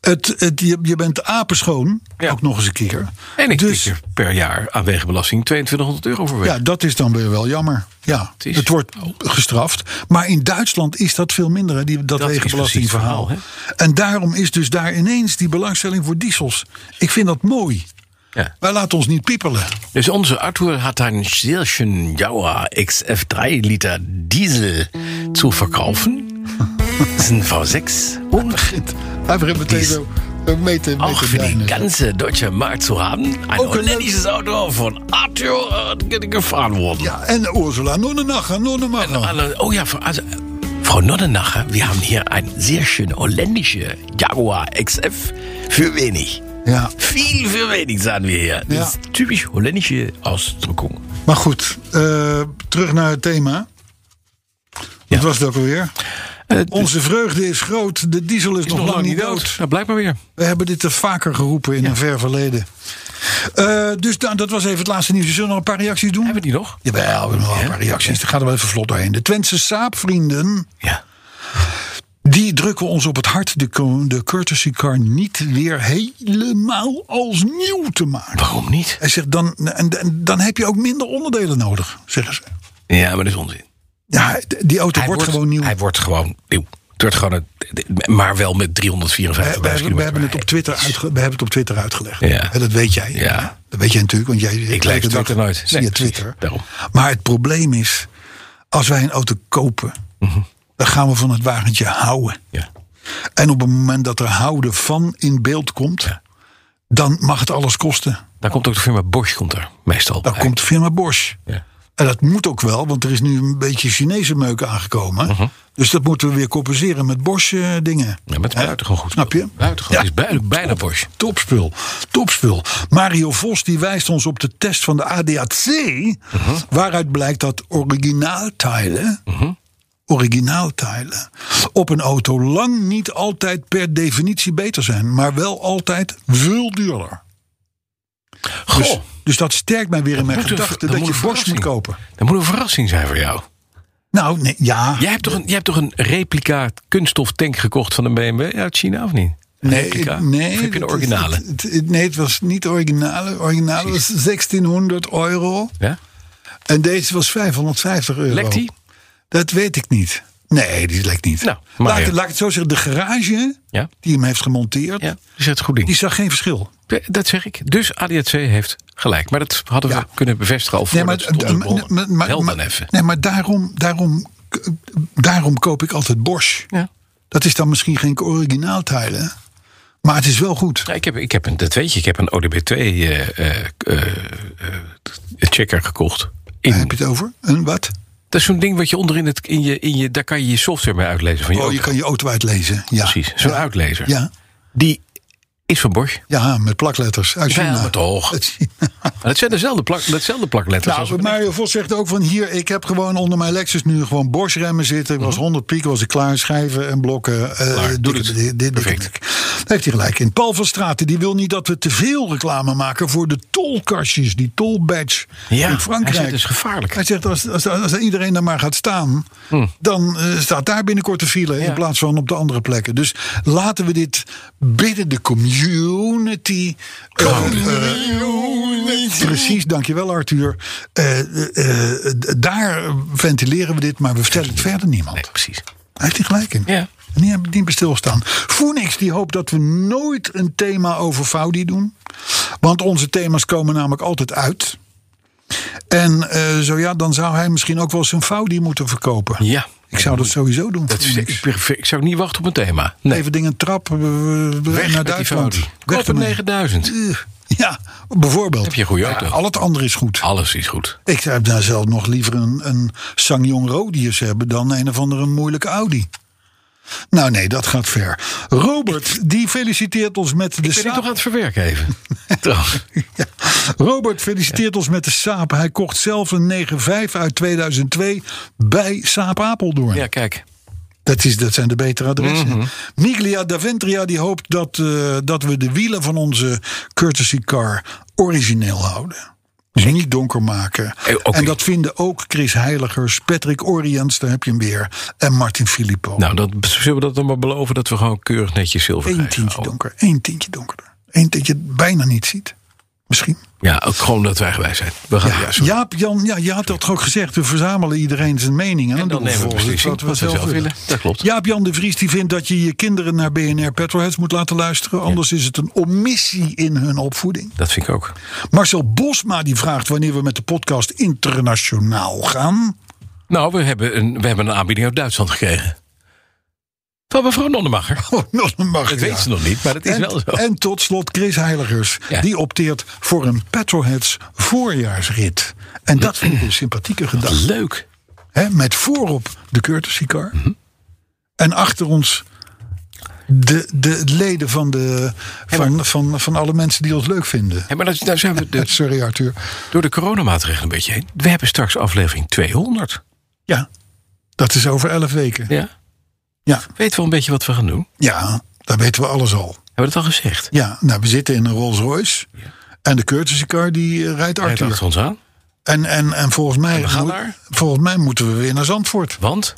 [SPEAKER 2] Het, het, je, je bent apenschoon.
[SPEAKER 4] Ja.
[SPEAKER 2] Ook nog eens een keer.
[SPEAKER 4] En ik
[SPEAKER 2] dus,
[SPEAKER 4] tik er per jaar aan wegenbelasting 2200 euro voor weg.
[SPEAKER 2] ja, dat is dan weer wel jammer. Ja,
[SPEAKER 4] is-
[SPEAKER 2] het wordt gestraft. Maar in Duitsland is dat veel minder, hè, die, dat,
[SPEAKER 4] Dat is
[SPEAKER 2] wegenbelastingverhaal.
[SPEAKER 4] precies het
[SPEAKER 2] en daarom is dus daar ineens die belangstelling voor diesels. Ik vind dat mooi.
[SPEAKER 4] Ja.
[SPEAKER 2] Wij laten ons niet piepelen.
[SPEAKER 4] Dus onze Arthur hat einen Schirchen Jaua XF3 Liter Diesel zu verkaufen. Das ist ein V6 und
[SPEAKER 2] Hij begint meteen
[SPEAKER 4] Die is
[SPEAKER 2] zo mee te, mee
[SPEAKER 4] auch
[SPEAKER 2] te
[SPEAKER 4] für die
[SPEAKER 2] deinen.
[SPEAKER 4] ganze deutsche Markt zu haben. Ein
[SPEAKER 2] Okay.
[SPEAKER 4] holländisches Auto von Arthur äh, ge- gefahren worden.
[SPEAKER 2] Ja, en Ursula Nonnenach, Nonnenmacher.
[SPEAKER 4] Alle- Oh ja, also, Frau Nonnenacher, wir haben hier ein sehr schöne holländische Jaguar XF für wenig.
[SPEAKER 2] Ja,
[SPEAKER 4] Viel für wenig, sagen wir hier. Das
[SPEAKER 2] Ja.
[SPEAKER 4] ist typisch holländische Ausdrückung.
[SPEAKER 2] maar goed. eh, terug naar het thema. Wat was het ook alweer?
[SPEAKER 4] Eh,
[SPEAKER 2] Onze vreugde is groot, de diesel is, nog, lang niet dood.
[SPEAKER 4] Nou, blijkbaar weer.
[SPEAKER 2] We hebben dit er vaker geroepen in een ver verleden. Eh, dus da- dat was even het laatste nieuws. Zullen we nog een paar reacties doen?
[SPEAKER 4] Hebben we die nog?
[SPEAKER 2] Jawel, we hebben nog wel een paar reacties. Dan gaan we wel even vlot doorheen. De Twentse saapvrienden...
[SPEAKER 4] Ja.
[SPEAKER 2] die drukken ons op het hart de, co- de courtesy car niet weer helemaal als nieuw te maken.
[SPEAKER 4] Waarom niet?
[SPEAKER 2] Hij zegt, dan, en, en dan heb je ook minder onderdelen nodig, zeggen ze.
[SPEAKER 4] Ja, maar dat is onzin.
[SPEAKER 2] Ja, d- die auto wordt, gewoon nieuw.
[SPEAKER 4] Hij wordt gewoon nieuw. Het wordt gewoon een, maar wel met 354.000
[SPEAKER 2] We, we, hebben-
[SPEAKER 4] kilometer.
[SPEAKER 2] we, hebben het op
[SPEAKER 4] per
[SPEAKER 2] Twitter uitge, we hebben het op Twitter uitgelegd.
[SPEAKER 4] Ja.
[SPEAKER 2] Hè, Dat weet jij.
[SPEAKER 4] Ja.
[SPEAKER 2] Dat weet jij natuurlijk, want jij
[SPEAKER 4] Ik lees
[SPEAKER 2] lees
[SPEAKER 4] Twitter nooit.
[SPEAKER 2] Zie
[SPEAKER 4] Nee,
[SPEAKER 2] je
[SPEAKER 4] precies.
[SPEAKER 2] Twitter.
[SPEAKER 4] Daarom.
[SPEAKER 2] Maar het probleem is, als wij een auto kopen,
[SPEAKER 4] Mhm.
[SPEAKER 2] dan gaan we van het wagentje houden.
[SPEAKER 4] rijden. Ja.
[SPEAKER 2] En op het moment dat er houden van in beeld komt, dan mag het alles kosten.
[SPEAKER 4] Dan komt ook de firma Bosch komt er meestal.
[SPEAKER 2] Dan
[SPEAKER 4] bij.
[SPEAKER 2] komt de firma Bosch.
[SPEAKER 4] Ja.
[SPEAKER 2] En dat moet ook wel, want er is nu een beetje Chinese meuk aangekomen.
[SPEAKER 4] Mhm.
[SPEAKER 2] Dus dat moeten we weer compenseren met Bosch eh, dingen.
[SPEAKER 4] Ja, maar het is
[SPEAKER 2] Hè?
[SPEAKER 4] buitengewoon goed.
[SPEAKER 2] Snap je?
[SPEAKER 4] Buitengewoon.
[SPEAKER 2] Ja.
[SPEAKER 4] Het is bijna, bijna Bosch.
[SPEAKER 2] Topspul, topspul. Mario Vos die wijst ons op de test van de ADAC...
[SPEAKER 4] Mhm.
[SPEAKER 2] waaruit blijkt dat originaalteilen... originaalteilen op een auto lang niet altijd per definitie beter zijn... maar wel altijd veel duurder.
[SPEAKER 4] Goh,
[SPEAKER 2] Dus, dus dat sterkt mij weer in mijn
[SPEAKER 4] moet een-
[SPEAKER 2] gedachten
[SPEAKER 4] dan
[SPEAKER 2] dat
[SPEAKER 4] moet
[SPEAKER 2] je
[SPEAKER 4] een
[SPEAKER 2] Bosch moet
[SPEAKER 4] verrassing.
[SPEAKER 2] kopen.
[SPEAKER 4] dat moet een verrassing zijn voor jou.
[SPEAKER 2] Nou, nee, ja.
[SPEAKER 4] Jij hebt toch een, jij hebt toch een replica kunststof tank gekocht van een BMW uit China, of niet? Een replica?
[SPEAKER 2] nee,
[SPEAKER 4] Of heb je een
[SPEAKER 2] het is-
[SPEAKER 4] originale?
[SPEAKER 2] het- het- het- nee, het was niet originale. Originale was 1600 euro.
[SPEAKER 4] ja?
[SPEAKER 2] En deze was 550 euro.
[SPEAKER 4] Lekt die?
[SPEAKER 2] Dat weet ik niet. Nee, die lekt niet.
[SPEAKER 4] Nou, maar
[SPEAKER 2] laat,
[SPEAKER 4] ja.
[SPEAKER 2] ik- laat ik het zo zeggen. De garage
[SPEAKER 4] Ja.
[SPEAKER 2] die hem heeft gemonteerd,
[SPEAKER 4] Ja, is het goed ding.
[SPEAKER 2] die zag geen verschil.
[SPEAKER 4] Ja, Dat zeg ik. Dus ADAC heeft gelijk. Maar dat hadden we
[SPEAKER 2] Ja.
[SPEAKER 4] kunnen bevestigen al
[SPEAKER 2] Nee,
[SPEAKER 4] voordat
[SPEAKER 2] maar,
[SPEAKER 4] het stond in de bronnen.
[SPEAKER 2] maar- maar-
[SPEAKER 4] Wel
[SPEAKER 2] maar-
[SPEAKER 4] dan even.
[SPEAKER 2] nee, maar daarom, daarom, daarom koop ik altijd Bosch.
[SPEAKER 4] Ja.
[SPEAKER 2] Dat is dan misschien geen originaalteilen. Maar het is wel goed.
[SPEAKER 4] Ja, ik heb, ik heb een, dat weet je, ik heb een ODB2 eh, eh, eh, eh, checker gekocht. In,
[SPEAKER 2] Daar heb je het over. Een wat?
[SPEAKER 4] dat is zo'n ding wat je onderin het, in je, in je, daar kan je je software mee uitlezen van je
[SPEAKER 2] Oh, je
[SPEAKER 4] auto.
[SPEAKER 2] kan je auto uitlezen. Ja.
[SPEAKER 4] Precies, zo'n uitlezer.
[SPEAKER 2] Ja.
[SPEAKER 4] Die is van Bosch.
[SPEAKER 2] Ja, met plakletters uit
[SPEAKER 4] Ja,
[SPEAKER 2] China.
[SPEAKER 4] maar toch.
[SPEAKER 2] Uit China.
[SPEAKER 4] Maar dat zijn dezelfde, plak, dezelfde plakletters. als
[SPEAKER 2] Nou,
[SPEAKER 4] op-
[SPEAKER 2] Mario Vos zegt ook van hier, ik heb gewoon onder mijn Lexus nu gewoon Bosch remmen zitten. Ik was 100 piek, was ik klaar, schijven en blokken. eh,
[SPEAKER 4] Mhm. Klaar,
[SPEAKER 2] dikke-
[SPEAKER 4] doe het.
[SPEAKER 2] di- di- dikke
[SPEAKER 4] Perfect.
[SPEAKER 2] nek. Daar heeft hij gelijk in. Paul van Straten, die wil niet dat we te veel reclame maken voor de tolkastjes, die tolbadge
[SPEAKER 4] Ja,
[SPEAKER 2] in Frankrijk.
[SPEAKER 4] hij zegt, dat is gevaarlijk.
[SPEAKER 2] Hij zegt, als, als, als iedereen daar maar gaat staan, dan eh, staat daar binnenkort de file in plaats van op de andere plekken. Dus laten we dit binnen de community. eh, eh, precies, dankjewel Arthur. Eh, eh, eh, d- daar ventileren we dit, maar we vertellen het verder niemand.
[SPEAKER 4] Nee, precies.
[SPEAKER 2] Hij heeft er gelijk in.
[SPEAKER 4] Ja.
[SPEAKER 2] En die hebben die bij stilstaan. Phoenix die hoopt dat we nooit een thema over Faudi doen. Want onze thema's komen namelijk altijd uit. En eh, zo ja, dan zou hij misschien ook wel zijn Faudi moeten verkopen.
[SPEAKER 4] Ja.
[SPEAKER 2] Ik zou dat sowieso doen.
[SPEAKER 4] Dat is,
[SPEAKER 2] Phoenix.
[SPEAKER 4] ik, ik zou niet wachten op een thema. Nee.
[SPEAKER 2] Even dingen trappen we- we-
[SPEAKER 4] Weg
[SPEAKER 2] naar
[SPEAKER 4] met die
[SPEAKER 2] Duitsland.
[SPEAKER 4] Faudi. Koop een
[SPEAKER 2] ermee.
[SPEAKER 4] 9000.
[SPEAKER 2] Eh, Ja, bijvoorbeeld.
[SPEAKER 4] Heb je een goede auto.
[SPEAKER 2] Ja, al het andere is goed.
[SPEAKER 4] Alles is goed.
[SPEAKER 2] Ik zou daar zelf nog liever een, een Sangyong Rodius hebben dan een of andere moeilijke Audi. Nou nee, dat gaat ver. Robert, die feliciteert ons met de
[SPEAKER 4] Ben ik toch
[SPEAKER 2] saap.
[SPEAKER 4] aan het verwerken even? Trouwens.
[SPEAKER 2] Ja. Robert feliciteert ons met de saap. Hij kocht zelf een 9.5 uit 2002 bij Saap Apeldoorn.
[SPEAKER 4] Ja, kijk.
[SPEAKER 2] Dat, is, dat zijn de betere adressen.
[SPEAKER 4] Mhm.
[SPEAKER 2] Miglia Daventria die hoopt dat, eh, dat we de wielen van onze courtesy car origineel houden. Dus niet donker maken.
[SPEAKER 4] Eh, oké.
[SPEAKER 2] En dat vinden ook Chris Heiligers, Patrick Oriens, daar heb je hem weer. En Martin Filippo.
[SPEAKER 4] Nou, dat, zullen we dat dan maar beloven dat we gewoon keurig netjes zilver
[SPEAKER 2] Eén
[SPEAKER 4] krijgen?
[SPEAKER 2] tintje
[SPEAKER 4] Oh.
[SPEAKER 2] donker. Eén tintje donkerder. Eén tintje dat je bijna niet ziet. Misschien.
[SPEAKER 4] Ja, ook gewoon dat wij gewijs zijn. We gaan, ja,
[SPEAKER 2] Ja,
[SPEAKER 4] sorry.
[SPEAKER 2] Jaap, Jan, ja, je had dat toch ook gezegd. We verzamelen iedereen zijn mening. En, dan,
[SPEAKER 4] En dan
[SPEAKER 2] doen we
[SPEAKER 4] nemen we
[SPEAKER 2] vervolgens
[SPEAKER 4] beslissing
[SPEAKER 2] wat we
[SPEAKER 4] wat we
[SPEAKER 2] zelf
[SPEAKER 4] zelf
[SPEAKER 2] willen.
[SPEAKER 4] willen. Dat klopt.
[SPEAKER 2] Jaap Jan de Vries die vindt dat je je kinderen naar BNR Petrolheads moet laten luisteren. Anders is het een omissie in hun opvoeding.
[SPEAKER 4] Dat vind ik ook.
[SPEAKER 2] Marcel Bosma die vraagt wanneer we met de podcast internationaal gaan.
[SPEAKER 4] Nou, we hebben een, we hebben een aanbieding uit Duitsland gekregen. Van mevrouw Nonnemacher.
[SPEAKER 2] Oh, nog een mag
[SPEAKER 4] Dat weet ze nog niet, maar dat is
[SPEAKER 2] en,
[SPEAKER 4] wel zo.
[SPEAKER 2] En tot slot Chris Heiligers.
[SPEAKER 4] Ja.
[SPEAKER 2] Die opteert voor een Petrolheads voorjaarsrit. En dat vind ik een sympathieke gedachte.
[SPEAKER 4] Leuk.
[SPEAKER 2] Hè, met voorop de courtesy car. En achter ons de, de leden van, de, van, van, van alle mensen die ons leuk vinden. Eh,
[SPEAKER 4] Hé, maar dat, nou zijn we de-
[SPEAKER 2] Sorry Arthur.
[SPEAKER 4] door de coronamaatregelen een beetje heen. We hebben straks aflevering 200.
[SPEAKER 2] Ja, dat is over elf weken.
[SPEAKER 4] Ja.
[SPEAKER 2] Ja,
[SPEAKER 4] Weet wel een beetje wat we gaan doen.
[SPEAKER 2] ja daar weten we alles al.
[SPEAKER 4] Hebben we dat al gezegd?
[SPEAKER 2] Ja, nou, we zitten in een Rolls Royce. En de courtesy car die eh, rijdt
[SPEAKER 4] Hij
[SPEAKER 2] Arthur.
[SPEAKER 4] achter ons aan.
[SPEAKER 2] En, en, en, volgens mij
[SPEAKER 4] we gaan
[SPEAKER 2] moet-
[SPEAKER 4] naar?
[SPEAKER 2] volgens mij moeten we weer naar Zandvoort.
[SPEAKER 4] Want?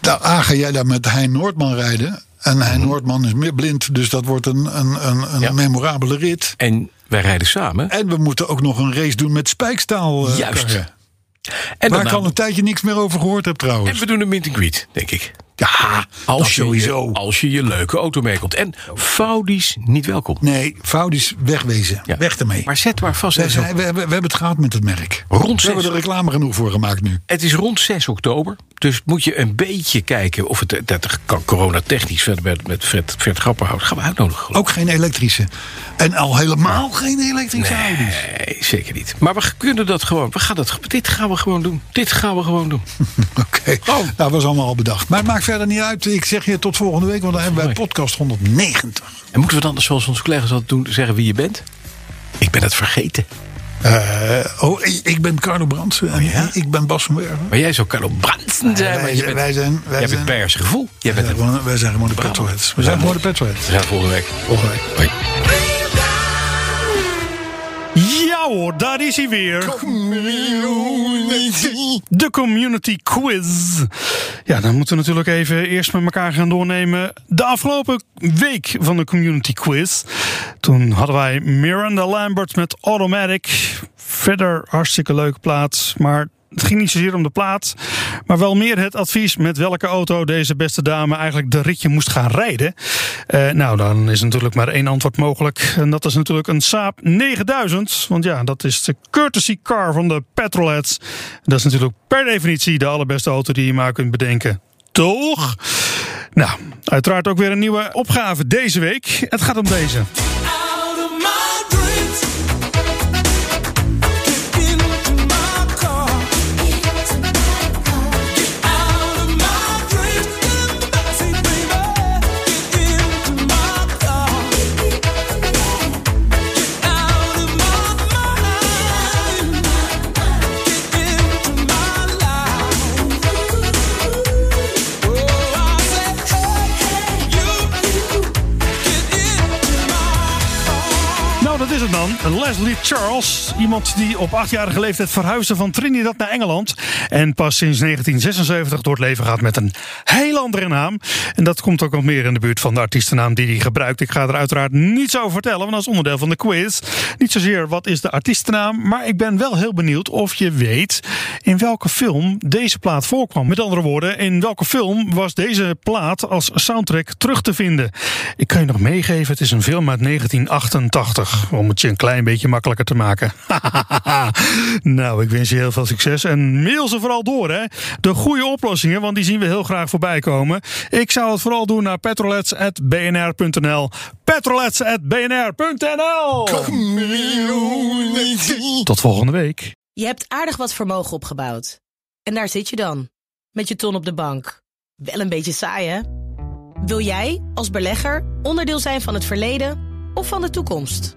[SPEAKER 2] Nou, A, ga jij daar met Hein Noordman rijden. En Hein Noordman is meer blind, dus dat wordt een, een, een, een
[SPEAKER 4] Mhm. Ja.
[SPEAKER 2] memorabele rit.
[SPEAKER 4] En wij rijden samen.
[SPEAKER 2] En we moeten ook nog een race doen met spijkstaal. eh,
[SPEAKER 4] Juist.
[SPEAKER 2] karren.
[SPEAKER 4] En,
[SPEAKER 2] Waar
[SPEAKER 4] daarna-
[SPEAKER 2] ik al een tijdje niks meer over gehoord heb
[SPEAKER 4] en
[SPEAKER 2] trouwens.
[SPEAKER 4] we doen een meet and greet, denk ik.
[SPEAKER 2] ja, dat
[SPEAKER 4] Als je, je,
[SPEAKER 2] sowieso.
[SPEAKER 4] als je je leuke auto meekomt. En Faudi's niet welkom.
[SPEAKER 2] Nee, Foudis wegwezen.
[SPEAKER 4] Ja.
[SPEAKER 2] Weg ermee.
[SPEAKER 4] Maar zet maar vast.
[SPEAKER 2] we,
[SPEAKER 4] Het is,
[SPEAKER 2] zijn, we, hebben, we hebben het gehad met het merk.
[SPEAKER 4] Rond
[SPEAKER 2] we hebben
[SPEAKER 4] zes.
[SPEAKER 2] er reclame genoeg voor gemaakt nu.
[SPEAKER 4] het is rond 6 oktober. Dus moet je een beetje kijken of het dat kan coronatechnisch verder met, met Fred, Fred Grapperhout. Gaan we uitnodigen. geloof ik.
[SPEAKER 2] Ook geen elektrische. En al helemaal geen elektrische Audi's.
[SPEAKER 4] Nee, zeker niet. Maar we kunnen dat gewoon. We gaan dat, dit gaan we gewoon doen. Dit gaan we gewoon doen.
[SPEAKER 2] Oké,
[SPEAKER 4] Oh.
[SPEAKER 2] dat was allemaal al bedacht. Maar het maakt verder niet uit. Ik zeg je tot volgende week, want dan hebben wij
[SPEAKER 4] Mooi.
[SPEAKER 2] podcast 190.
[SPEAKER 4] En moeten we dan, zoals onze collega's altijd doen, zeggen wie je bent? Ik ben het vergeten.
[SPEAKER 2] Eh, oh, ik ik ben Carlo Brandsen en ik ben Bas van Werven.
[SPEAKER 4] Maar jij zou Carlo Bransen zijn. Oh, maar
[SPEAKER 2] wij,
[SPEAKER 4] je bent,
[SPEAKER 2] wij zijn, wij
[SPEAKER 4] jij
[SPEAKER 2] zijn,
[SPEAKER 4] bent Bears gevoel.
[SPEAKER 2] wij
[SPEAKER 4] Jij bent
[SPEAKER 2] zijn
[SPEAKER 4] een
[SPEAKER 2] gewoon, wij zijn gewoon de petrolheads. We zijn gewoon de petrolheads.
[SPEAKER 4] We zijn volgende week.
[SPEAKER 2] Volgende week.
[SPEAKER 4] Hoi.
[SPEAKER 6] Ja hoor, daar is hij weer. De community quiz. Ja, dan moeten we natuurlijk even eerst met elkaar gaan doornemen. De afgelopen week van de community quiz. Toen hadden wij Miranda Lambert met Automatic. Verder hartstikke leuke plaat, maar... Het ging niet zozeer om de plaat, maar wel meer het advies met welke auto deze beste dame eigenlijk de ritje moest gaan rijden. Eh, nou, dan is natuurlijk maar één antwoord mogelijk. En dat is natuurlijk een Saab 9000. Want ja, dat is de courtesy car van de Petrolheads. Dat is natuurlijk per definitie de allerbeste auto die je maar kunt bedenken. Toch? Nou, uiteraard ook weer een nieuwe opgave deze week. Het gaat om deze.
[SPEAKER 7] Out of my dreams, get into my car. Get out of my dreams, in the backseat, baby. Get into my car. Get out of my mind, get into my life. Oh, I said, hey, you, get into my.
[SPEAKER 6] Nou, dat is het dan. Leslie Charles. Iemand die op achtjarige leeftijd verhuisde van Trinidad naar Engeland. En pas sinds 1976 door het leven gaat met een heel andere naam. En dat komt ook nog meer in de buurt van de artiestennaam die hij gebruikt. Ik ga er uiteraard niets over vertellen, want dat is onderdeel van de quiz. Niet zozeer wat is de artiestennaam, maar ik ben wel heel benieuwd of je weet in welke film deze plaat voorkwam. Met andere woorden, in welke film was deze plaat als soundtrack terug te vinden? Ik kan je nog meegeven, het is een film uit 1988. Om het je een klein beetje makkelijker te maken. nou, ik wens je heel veel succes. En mail ze vooral door, hè. De goede oplossingen, want die zien we heel graag voorbij komen. Ik zou het vooral doen naar petrolets.bnr.nl. Petrolets.bnr.nl Tot volgende week.
[SPEAKER 8] Je hebt aardig wat vermogen opgebouwd. En daar zit je dan, met je ton op de bank. Wel een beetje saai, hè? Wil jij, als belegger, onderdeel zijn van het verleden of van de toekomst?